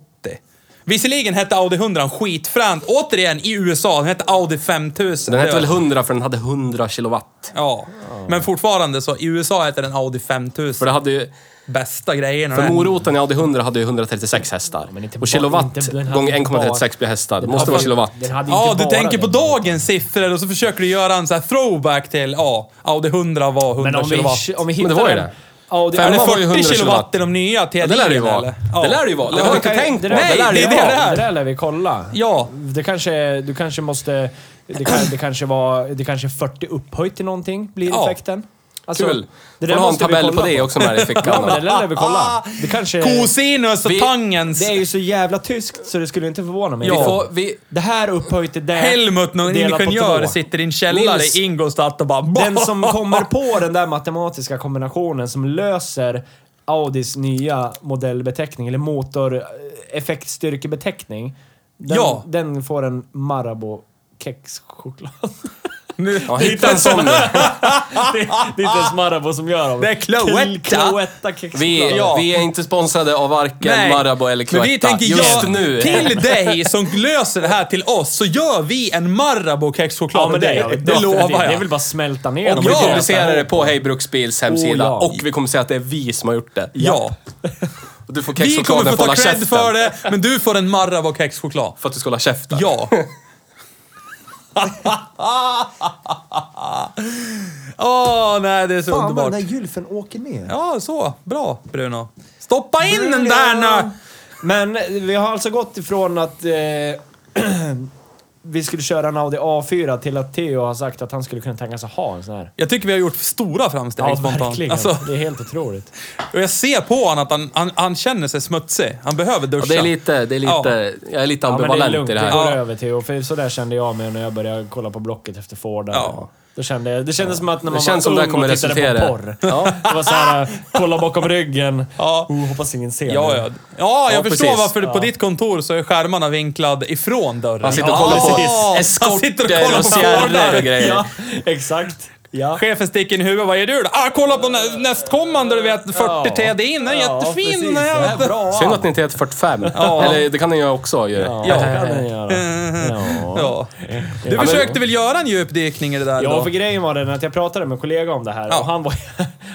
Visserligen hette Audi 100 skitfränt. Återigen, i USA, den hette Audi 5000. den Det hette väl var- 100 för den hade 100 kilowatt. Ja, men fortfarande så. I USA heter den Audi För 5000. det hade ju... Bästa grejerna. För moroten i Audi 100 hade ju 136 hästar. men inte och bara- kilowatt inte- den hade gånger inte bara- 1,36 blir hästar. Det måste vara kilowatt. Den hade inte Ja, du bara tänker på det. dagens siffror och så försöker du göra en så här throwback till, ja, Audi 100 var 100 Men om kilowatt. vi, om vi hittar Men det var ju den- det. Ja, och det- Är det Femman var ju 40 100 kilowatt i de nya Ja, TDI? det lär det ju vara. Det lär det ju vara. Det Ja, har jag det inte kan ju- tänkt på. det Nej, Det lär det det ju är det vara. det är. Det där lär vi kolla. Ja. Det kanske, du kanske måste... Det, kan, det kanske var... Det kanske är 40 upphöjt till någonting blir Ja. effekten. Alltså, Kul. Det Får ha en måste vi tabell kolla på det också Ah, med i Ja, men det fickan. där lär vi kolla. Det kanske... Cosinus och Vi- tangens. Det är ju så jävla tyskt så det skulle inte förvåna mig. Ja. Vi får- Och vi, Det här upphöjt till det. Helmut, någon delat på ingenjör, två. sitter i en källare Nils- i Ingolstadt och bara... Den som kommer på den där matematiska kombinationen som löser Audis nya modellbeteckning, eller motoreffektstyrkebeteckning. Den, Ja. den får en Marabou kexchoklad. Nu- ja, hitta en sån nu. det, det är inte ens Marabou som gör dem. Det är Cloetta. Cloetta kexchoklad. Vi, Ja. vi är inte sponsrade av varken Nej. Marabou eller Cloetta. Men vi tänker, Just ja, nu. till dig som löser det här till oss så gör vi en Marabou kexchoklad Ja, men med det, dig. gör vi. Det, lovar Det, det är jag. väl bara att smälta ner Och dem. Vi Ja. publicerar det på Hej Bruksbils hemsida Oh, ja. och vi kommer säga att det är vi som har gjort det. Ja. Och du får Vi kommer kexchokladen få för att ta hålla cred käften. för det, men du får en Marabou kexchoklad. För att du ska hålla käften. Ja. Åh, nej det är så Fan vad underbart. den där gylfen åker ner. Ja, så. Bra, Bruno. Stoppa in den där nu! Men vi har alltså gått ifrån att eh, vi skulle köra en Audi A4 till att Theo har sagt att han skulle kunna tänka sig ha en sån här. Jag tycker vi har gjort stora framsteg spontant. verkligen. Alltså, Det är helt otroligt. och jag ser på honom att han, han, han känner sig smutsig. Han behöver duscha. Ja, det är lite, det är lite, jag är lite Ja, men det är ambivalent lugnt. i Det, det här. Ja. går över Theo. För så där kände jag mig när jag började kolla på Blocket efter Ford. Ja. Då kände jag, det kändes som att när man känns som var det här ung kommer och tittade resultera. på porr. Det var såhär, kolla bakom ryggen. Ja. Oh, hoppas ingen ser Ja, mig. ja. ja, jag Ja, förstår precis. varför på ditt kontor så är skärmarna vinklad ifrån dörren. Han sitter och Ja, kollar på precis. Han sitter och kollar eskorter och på fjärilar och fjärdar. grejer. Ja, exakt. Ja. Chefen sticker in i huvudet. Vad gör du då? Ah, kolla på nä- nästkommande, du vet. 40 TD in. Den är Ja, jättefin precis. den här. Ja, bra. Synd att ni inte heter 45. Eller det kan ni göra också ju. Ja, Ja. Eh. det kan den göra. Ja. Ja. Du försökte väl göra en djupdykning i det där Ja, då? för grejen var den att jag pratade med en kollega om det här Ja. och han, var,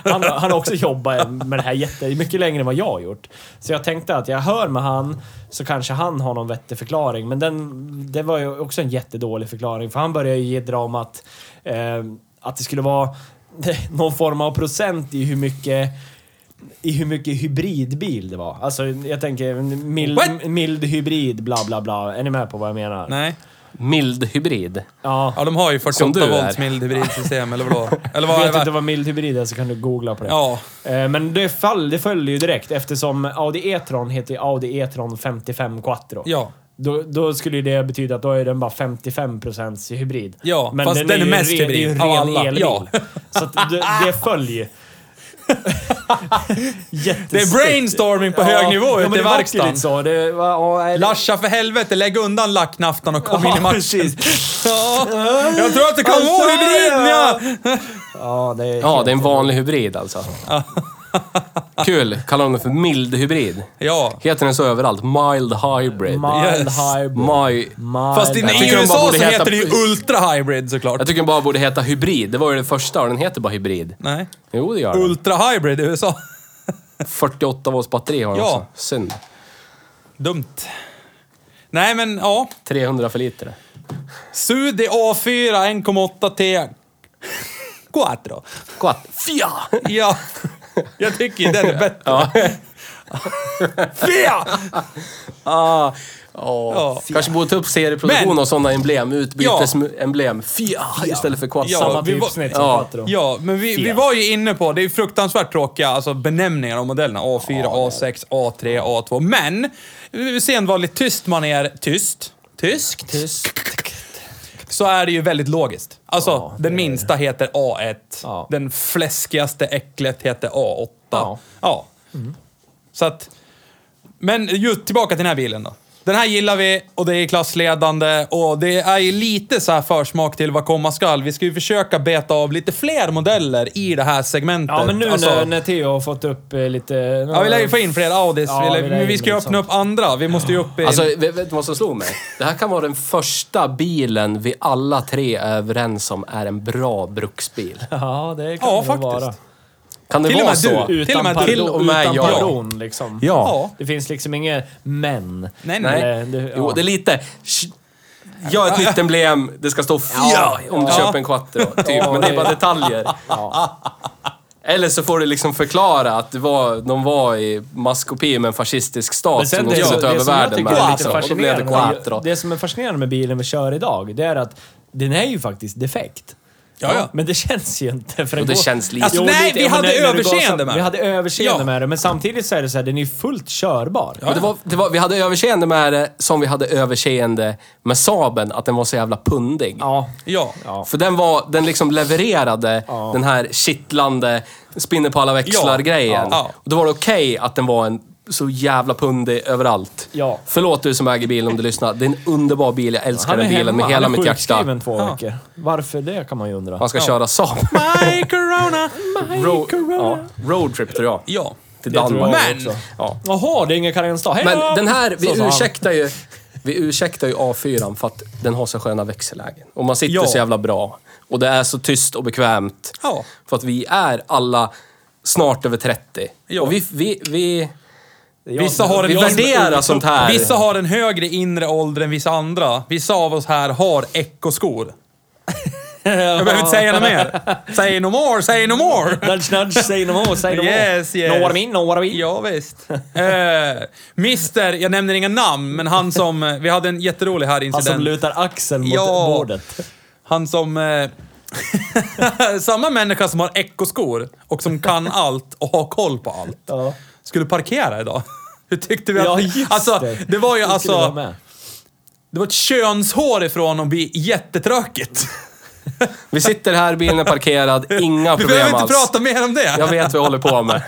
han, han har också jobbat med det här jätte, mycket längre än vad jag har gjort. Så jag tänkte att jag hör med han så kanske han har någon vettig förklaring. Men den, det var ju också en jättedålig förklaring för han började ju ge dramat eh, att det skulle vara någon form av procent i hur mycket i hur mycket hybridbil det var. Alltså, jag tänker mild, What? mild hybrid, bla bla bla. Är ni med på vad jag menar? Nej. Mild hybrid. Ja. Ja, de har ju Som du 48 är. volts mild hybridsystem, eller vadå? Eller vad Vet du är inte det? vad mild hybrid är så kan du googla på det. Ja. Eh, Men det, fall, det följde ju direkt eftersom Audi E-tron heter Audi E-tron 55 Quattro. Ja. Då, då skulle ju det betyda att då är den bara 55% hybrid. Ja, fast den är ju mest ren- hybrid Det är ju en av ren alla. elbil. Ja. Så att det, det följer. Det är brainstorming på hög nivå ute i verkstaden. Så. Det, var- ja, nej, det- Lascha för helvete, lägg undan lacknaftan och kom Ja, in i matchen. precis. Ja, jag tror att det kan vara hybriden Alltså, ja! ja, det är Ja, det är en vanlig hybrid alltså. Kul. Kallar de den för mild hybrid. Ja. Heter den så överallt? Mild hybrid. Mild Yes. hybrid. My... Mild- Fast i, i tycker de bara USA borde så heta- heter det ju Ultra Hybrid såklart. Jag tycker den bara borde heta hybrid. Det var ju den första och den heter bara hybrid. Nej. Jo, det gör den. Ultra Hybrid i USA. 48 volts batteri har den Ja. också. Synd. Dumt. Nej men ja. 300 för liter. Sudi A4 1,8 T. Quattro. Gott. Fia! Ja. Jag tycker ju den är bättre. Ja. Fia! Ah. Oh. Ja. Kanske borde ta upp serieproduktion Men- av sådana emblem. Utbytesemblem. Fia! Istället för quattro. Ja, Samma vi var- typsnitt ja. som Quattro. Ja, men vi, vi var ju inne på, det är fruktansvärt tråkiga alltså benämningar av modellerna. A4, A6, A3, A2. Men, eh, sedvanligt tyst man är tyst. Tyskt. Så är det ju väldigt logiskt. Alltså, den minsta heter A1. Ja. Den fläskigaste äcklet heter A8. Ja. Ja. Så att... Men just tillbaka till den här bilen då. Den här gillar vi och det är klassledande och det är ju lite så här försmak till vad komma skall. Vi ska ju försöka beta av lite fler modeller i det här segmentet. Ja, men nu Alltså, när, när Theo har fått upp eh, lite... Ja, vi lär ju få in fler Audis. Ja, vi vi, lär, lär men vi in ska ju lite öppna upp andra. Vi måste ju upp i... Alltså, vet vet du vad som slog mig? Det här kan vara den första bilen vi alla tre är överens om är en bra bruksbil. Ja, det kan Ja, det nog faktiskt. vara. Kan det Till och vara med så? du. Till och med Utan till pardon- och med utan jag. pardon, liksom. Ja. Det finns liksom inget men. Nej, nej. Nej. Eh, det- Jo, ja. det är lite... Sh- Ja, ett nytt emblem. Det ska stå FIA om du Ja. köper en Quattro. Typ. Ja, Men det är det- bara detaljer. Eller så får du liksom förklara att det var, de var i masskopi med en fascistisk Men stat sen som det de som- satt det över som jag världen tycker är lite med. Liksom. Och då blev det fascinerande, Quattro. Det som är fascinerande med bilen vi kör idag, det är att den är ju faktiskt defekt. Ja, ja. Men det känns ju inte. För den Och det går- känns lite... Alltså, Jo, nej, lite. vi Ja, men hade när- när du överseende gasar- med Vi det. hade överseende Ja. med det, men samtidigt så är det så här, den är ju fullt körbar. Men det var, det var, vi hade överseende med det som vi hade överseende med Saben att den var så jävla pundig. Ja. Ja. För den var, den liksom levererade den här kittlande, spinner på alla växlar-grejen. Ja. Ja. Och då var det okej att den var en så jävla pundig överallt. Ja. Förlåt du som äger bilen om du lyssnar. Det är en underbar bil. Jag älskar Han är den bilen hemma, med hela han är mitt hjärta. sjukskriven två veckor. Varför det kan man ju undra. Man ska köra Saab. My corona, my Ro- ja. corona. Roadtrip tror jag. Ja. Till Det tror jag Danmark. Men- också. Ja. Jaha, det är ingen karensdag. Hej Men då! den här, vi Så sa han. ursäktar ju... Vi ursäktar ju A4 för att den har så sköna växellägen. Och man sitter Ja. så jävla bra. Och det är så tyst och bekvämt. Ja. För att vi är alla snart över 30. Ja. Och vi, vi, vi, Jag- Vissa har en, vi värderar sånt här. Vissa har en högre inre ålder än vissa andra. Vissa av oss här har ekoskor. Jag behöver inte säga något mer. Say no more, say no more! Nudge, nudge, say no more, say no more. Yes, yes. Know what I mean, know what I mean. Ja, visst. Eh, Mister, jag nämner inga namn, men han som... eh, Vi hade en jätterolig här Han incident. som Alltså, lutar axeln mot Ja. bordet. Han som... Eh, samma människa som har ekoskor och som kan allt och har koll på allt. Ja. Skulle parkera idag. Hur tyckte vi att... Ja, just alltså, det. det var ju Det skulle vara alltså... med. Det var ett könshår ifrån att bli jättetrökigt. vi sitter här, bilen är parkerad, inga Vi problem behöver inte alls. prata mer om det. Jag vet vad jag håller på med.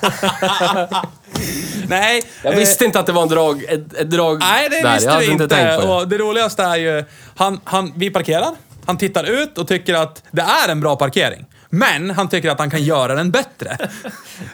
Nej. Jag eh, visste inte att det var en drag, ett, ett drag Nej, det där. visste jag hade vi inte inte. tänkt på det. och det roligaste är ju, han, han, vi parkerar, han tittar ut och tycker att det är en bra parkering. Men han tycker att han kan göra den bättre.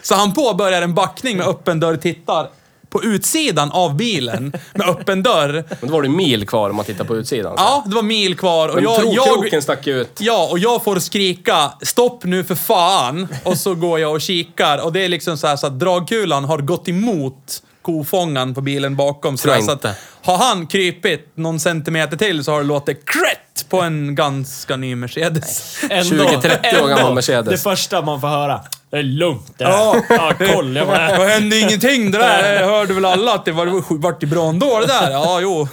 Så han påbörjar en backning med öppen dörr, tittar på utsidan av bilen med öppen dörr. Men då var det en mil kvar om man tittar på utsidan. Ja, det var mil kvar och Men jag, trokroken jag, stack ut. Ja, och jag får skrika stopp nu för fan. Och så går jag och kikar och det är liksom så här så att dragkulan har gått emot kofångaren på bilen bakom. Så, Tror här, jag så att inte. har han krypit någon centimeter till så har det låtit krätt på en ganska ny Mercedes. Ändå- 20-30 år gammal ändå, Mercedes. Det första man får höra. Det är lugnt det här. Ja, koll. Jag var Det hände ingenting det där. Jag hörde väl alla att det var, det var- vart det bra ändå det där. Ja, jo.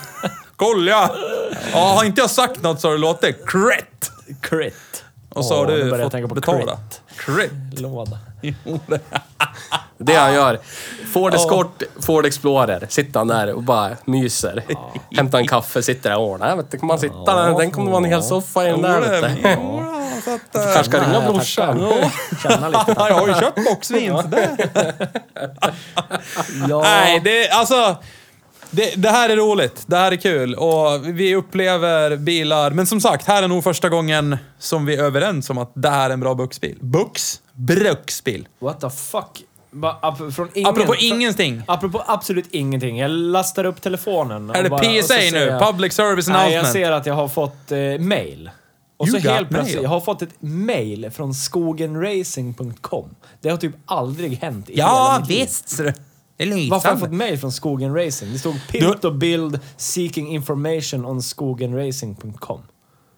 Koll ja. ja. Har inte jag sagt något så har det låtit krätt. crit. Och så har Åh, nu börjar du jag fått tänka på betala. Krätt. Låda. Det Ah. han gör. Ford Escort, Ford Explorer. Sitter han där och bara myser. Ah. Hämtar en kaffe, sitter där och ordnar. Jag vet inte, kan man sitta där? Tänk om det var en hel soffa i den där. vet du. Ja, så att, eh, Kanske ska ringa jag brorsan. Känna lite. jag har ju köpt boxvin, så det... Ja. Nej, det alltså... Det, det här är roligt. Det här är kul. Och vi upplever bilar. Men som sagt, här är nog första gången som vi är överens om att det här är en bra buxbil. Bux? Bruksbil. What the fuck Bara ap- från ingen, Apropå från- ingenting. Apropå absolut ingenting. Jag lastar upp telefonen. och Är det bara- och så PSA ser nu? jag- Public Service Nej, jag Announcement? ser att jag har fått eh, mail. Och You så got helt plötsligt, mail. jag har fått ett mail från skogenracing.com. Det har typ aldrig hänt i hela Ja, mitt liv. visst. ser du. Det är Varför har jag lysande. fått mail från Skogen Racing? Det stod “Pilt och bild seeking information on skogenracing.com”.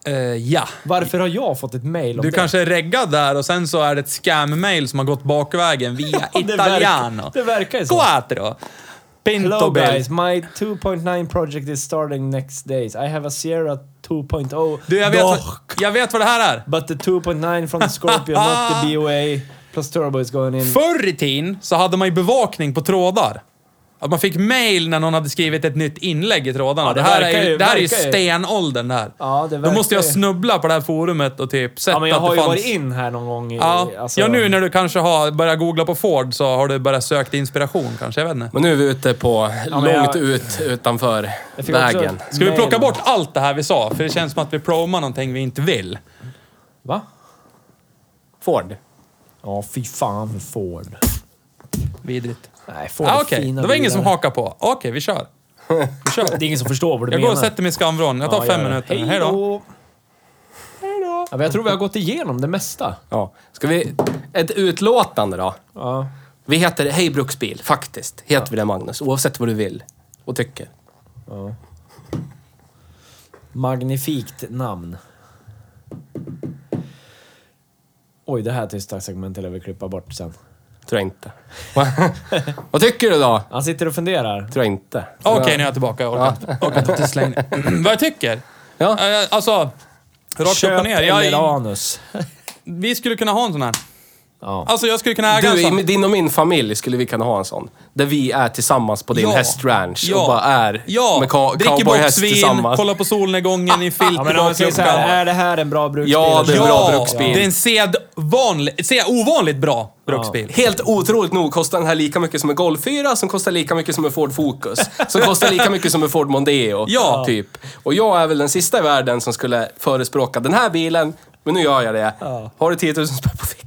Eh, ja. Varför har jag fått ett mail om Du det? kanske är reggad där och sen så är det ett scam-mail som har gått bakvägen via Det verkar- Italiano. Det verkar ju så. Quattro. Hello Pinto guys, Bill. my 2.9 project is starting next days. I have a Sierra 2.0. Du, jag vet, Dock, jag vet vad det här är. But the 2.9 from the Scorpio, not the BOA. Plus turbo is going in. Förr i tiden så hade man ju bevakning på trådar. Att man fick mail när någon hade skrivit ett nytt inlägg i trådarna. det det, här är verkar ju, ju- det här är ju verkar ju. stenåldern där. Ja, det Då måste jag verkar ju. snubbla på det här forumet och typ sett Ja, men jag att har det ju fanns... varit in här någon gång. I, Ja. alltså- ja, nu när du kanske har börjat googla på Ford så har du börjat sökt inspiration kanske. Jag vet inte. Men nu är vi ute på, men jag- långt ut utanför Jag fick också vägen. ett Ska vi mail. plocka bort allt det här vi sa? För det känns som att vi promar någonting vi inte vill. Va? Ford. Ja, fy fan för Ford. Vidrigt. Nej, Ford Ah, är Okej, fina det var ingen bilar. som hakar på. Okej, vi kör. Vi kör. Det är ingen som förstår vad du Jag går menar. och sätter mig i skamvrån. Jag tar Ja, fem gör det. minuter. Hej då. Ja, men jag tror vi har gått igenom det mesta. Ja. Ska vi... Ett utlåtande då? Ja. Vi heter Hej Bruksbil, faktiskt. Heter vi det Magnus, oavsett vad du vill och tycker. Magnifikt namn. Oj, det här tysta segmentet lär vi klippa bort sen. Tror jag inte. vad tycker du då? Han sitter och funderar. Tror jag inte. Okej, nu är jag tillbaka. Jag orkar inte. Orkar inte att slänga. Vad jag tycker? Ja. Eh, Alltså, rakt upp och ner. eller Jag, anus. vi skulle kunna ha en sån här. Ja. Alltså, jag skulle kunna äga en Du, sån. i din och min familj skulle vi kunna ha en sån. Där vi är tillsammans på din Ja. hästranch Ja. och bara är Ja, med ka- dricker cowboyhäst boxvin, tillsammans. alltså, kollar på solnedgången i filt Ja, i men om man säger så här, är det här en bra bruksbil? Ja, det är en bra Ja, bruksbil. det är en sedvanlig, se, ovanligt bra bruksbil. Helt otroligt nog kostar den här lika mycket som en Golf 4, som kostar lika mycket som en Ford Focus, som kostar lika mycket som en Ford Mondeo. Ja. Typ. Och jag är väl den sista i världen som skulle förespråka den här bilen, men nu gör jag det. Har du 10 000 spänn på fickan?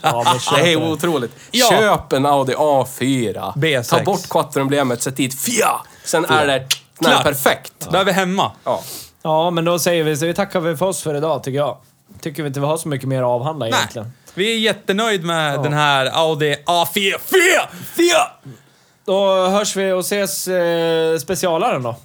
Ja, men köp det är den. otroligt. Ja. Köp en Audi A4. B6. Ta bort quattroemblemet, sätt dit FIA. Sen är det... Den är Klart. perfekt. Då är vi hemma. Ja. Ja, men då säger vi så. Vi tackar väl för oss för idag, tycker jag. Tycker vi inte vi har så mycket mer att avhandla Nej, egentligen. vi är jättenöjd med den här Audi E. A4. Fia! E! Fia! Då hörs vi och ses eh, specialaren då.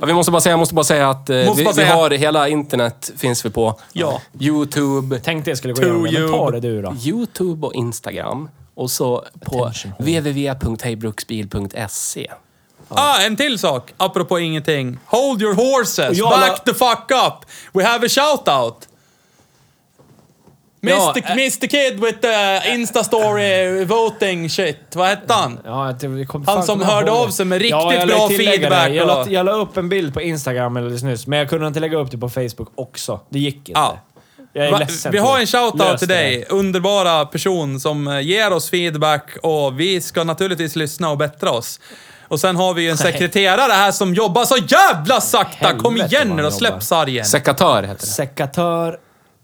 Ja, vi måste bara säga, jag måste bara säga att eh, Måste vi, bara säga. vi har hela internet finns vi på. Ja. Youtube. Tänkte jag skulle gå igenom det, men ta det du då. Youtube och Instagram. Och så på www.hejbruksbil.se. Ah, en till sak, apropå ingenting. Hold your horses, Ja, back va- the fuck up. We have a shout-out. Mr, Ja, eh. Mr Kid with the Insta-story voting shit. Vad hette han? Ja, att det kom, Han fan som kommer jag hörde ihåg av det. sig med Ja, riktigt jag lär bra tillägga feedback Det. Jag, la, och- jag la upp en bild på Instagram alldeles nyss, men jag kunde inte lägga upp det på Facebook också. Det gick inte. Ja. Jag är Ah. Va- ledsen. Vi för har det. en shoutout Lös till det. dig, underbara person som eh, ger oss feedback och vi ska naturligtvis lyssna och bättra oss. Och sen har vi ju en sekreterare här som jobbar så jävla sakta! Kom Helvete igen vad nu då, han jobbar. släpp sargen! Sekatör heter det. Sekatör.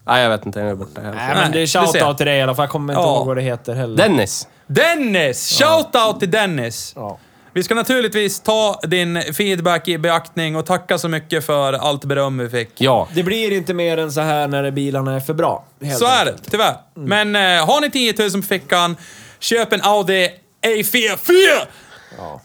Nej, jag vet inte. Den är borta. Jag vet Nej, inte. Nej, men det är du ser. shoutout till dig i alla fall. Jag kommer inte Ja. ihåg vad det heter heller. Dennis. Dennis! Shoutout till Dennis! Ja. Vi ska naturligtvis ta din feedback i beaktning och tacka så mycket för allt beröm vi fick. Ja. Det blir inte mer än så här när bilarna är för bra. helt Så är det, enkelt. Mm. tyvärr. Men eh, har ni 10 000 på fickan, köp en Audi A4.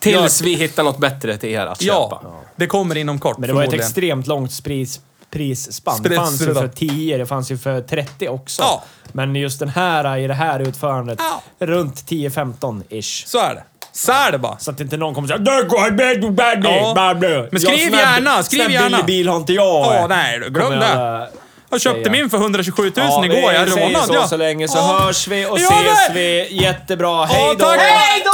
Tills vi hittar något bättre till er att Ja, köpa. det kommer inom kort Men det var ett förmodligen. extremt långt pris, prisspann. Det Spris- fanns ju då. för 10, det fanns ju för 30 också. Ja. Men just den här i det här utförandet, Ja. runt 10-15-ish. Så är det. Så är det bara. Så att inte någon kommer säga "Där går han med, du bad me, Ja. bad me." Men skriv Ja, sån här- gärna, skriv sån här gärna. billig bil har inte jag. Ja, nej, du, glöm Kommer alla- det. Jag köpte säga. min för 127 000 Ja, igår. vi Jag är säger rånad. så, ja. så länge så Ja. hörs vi och Ja, ses men- vi. Jättebra. Hej Ja, då! tack. Hej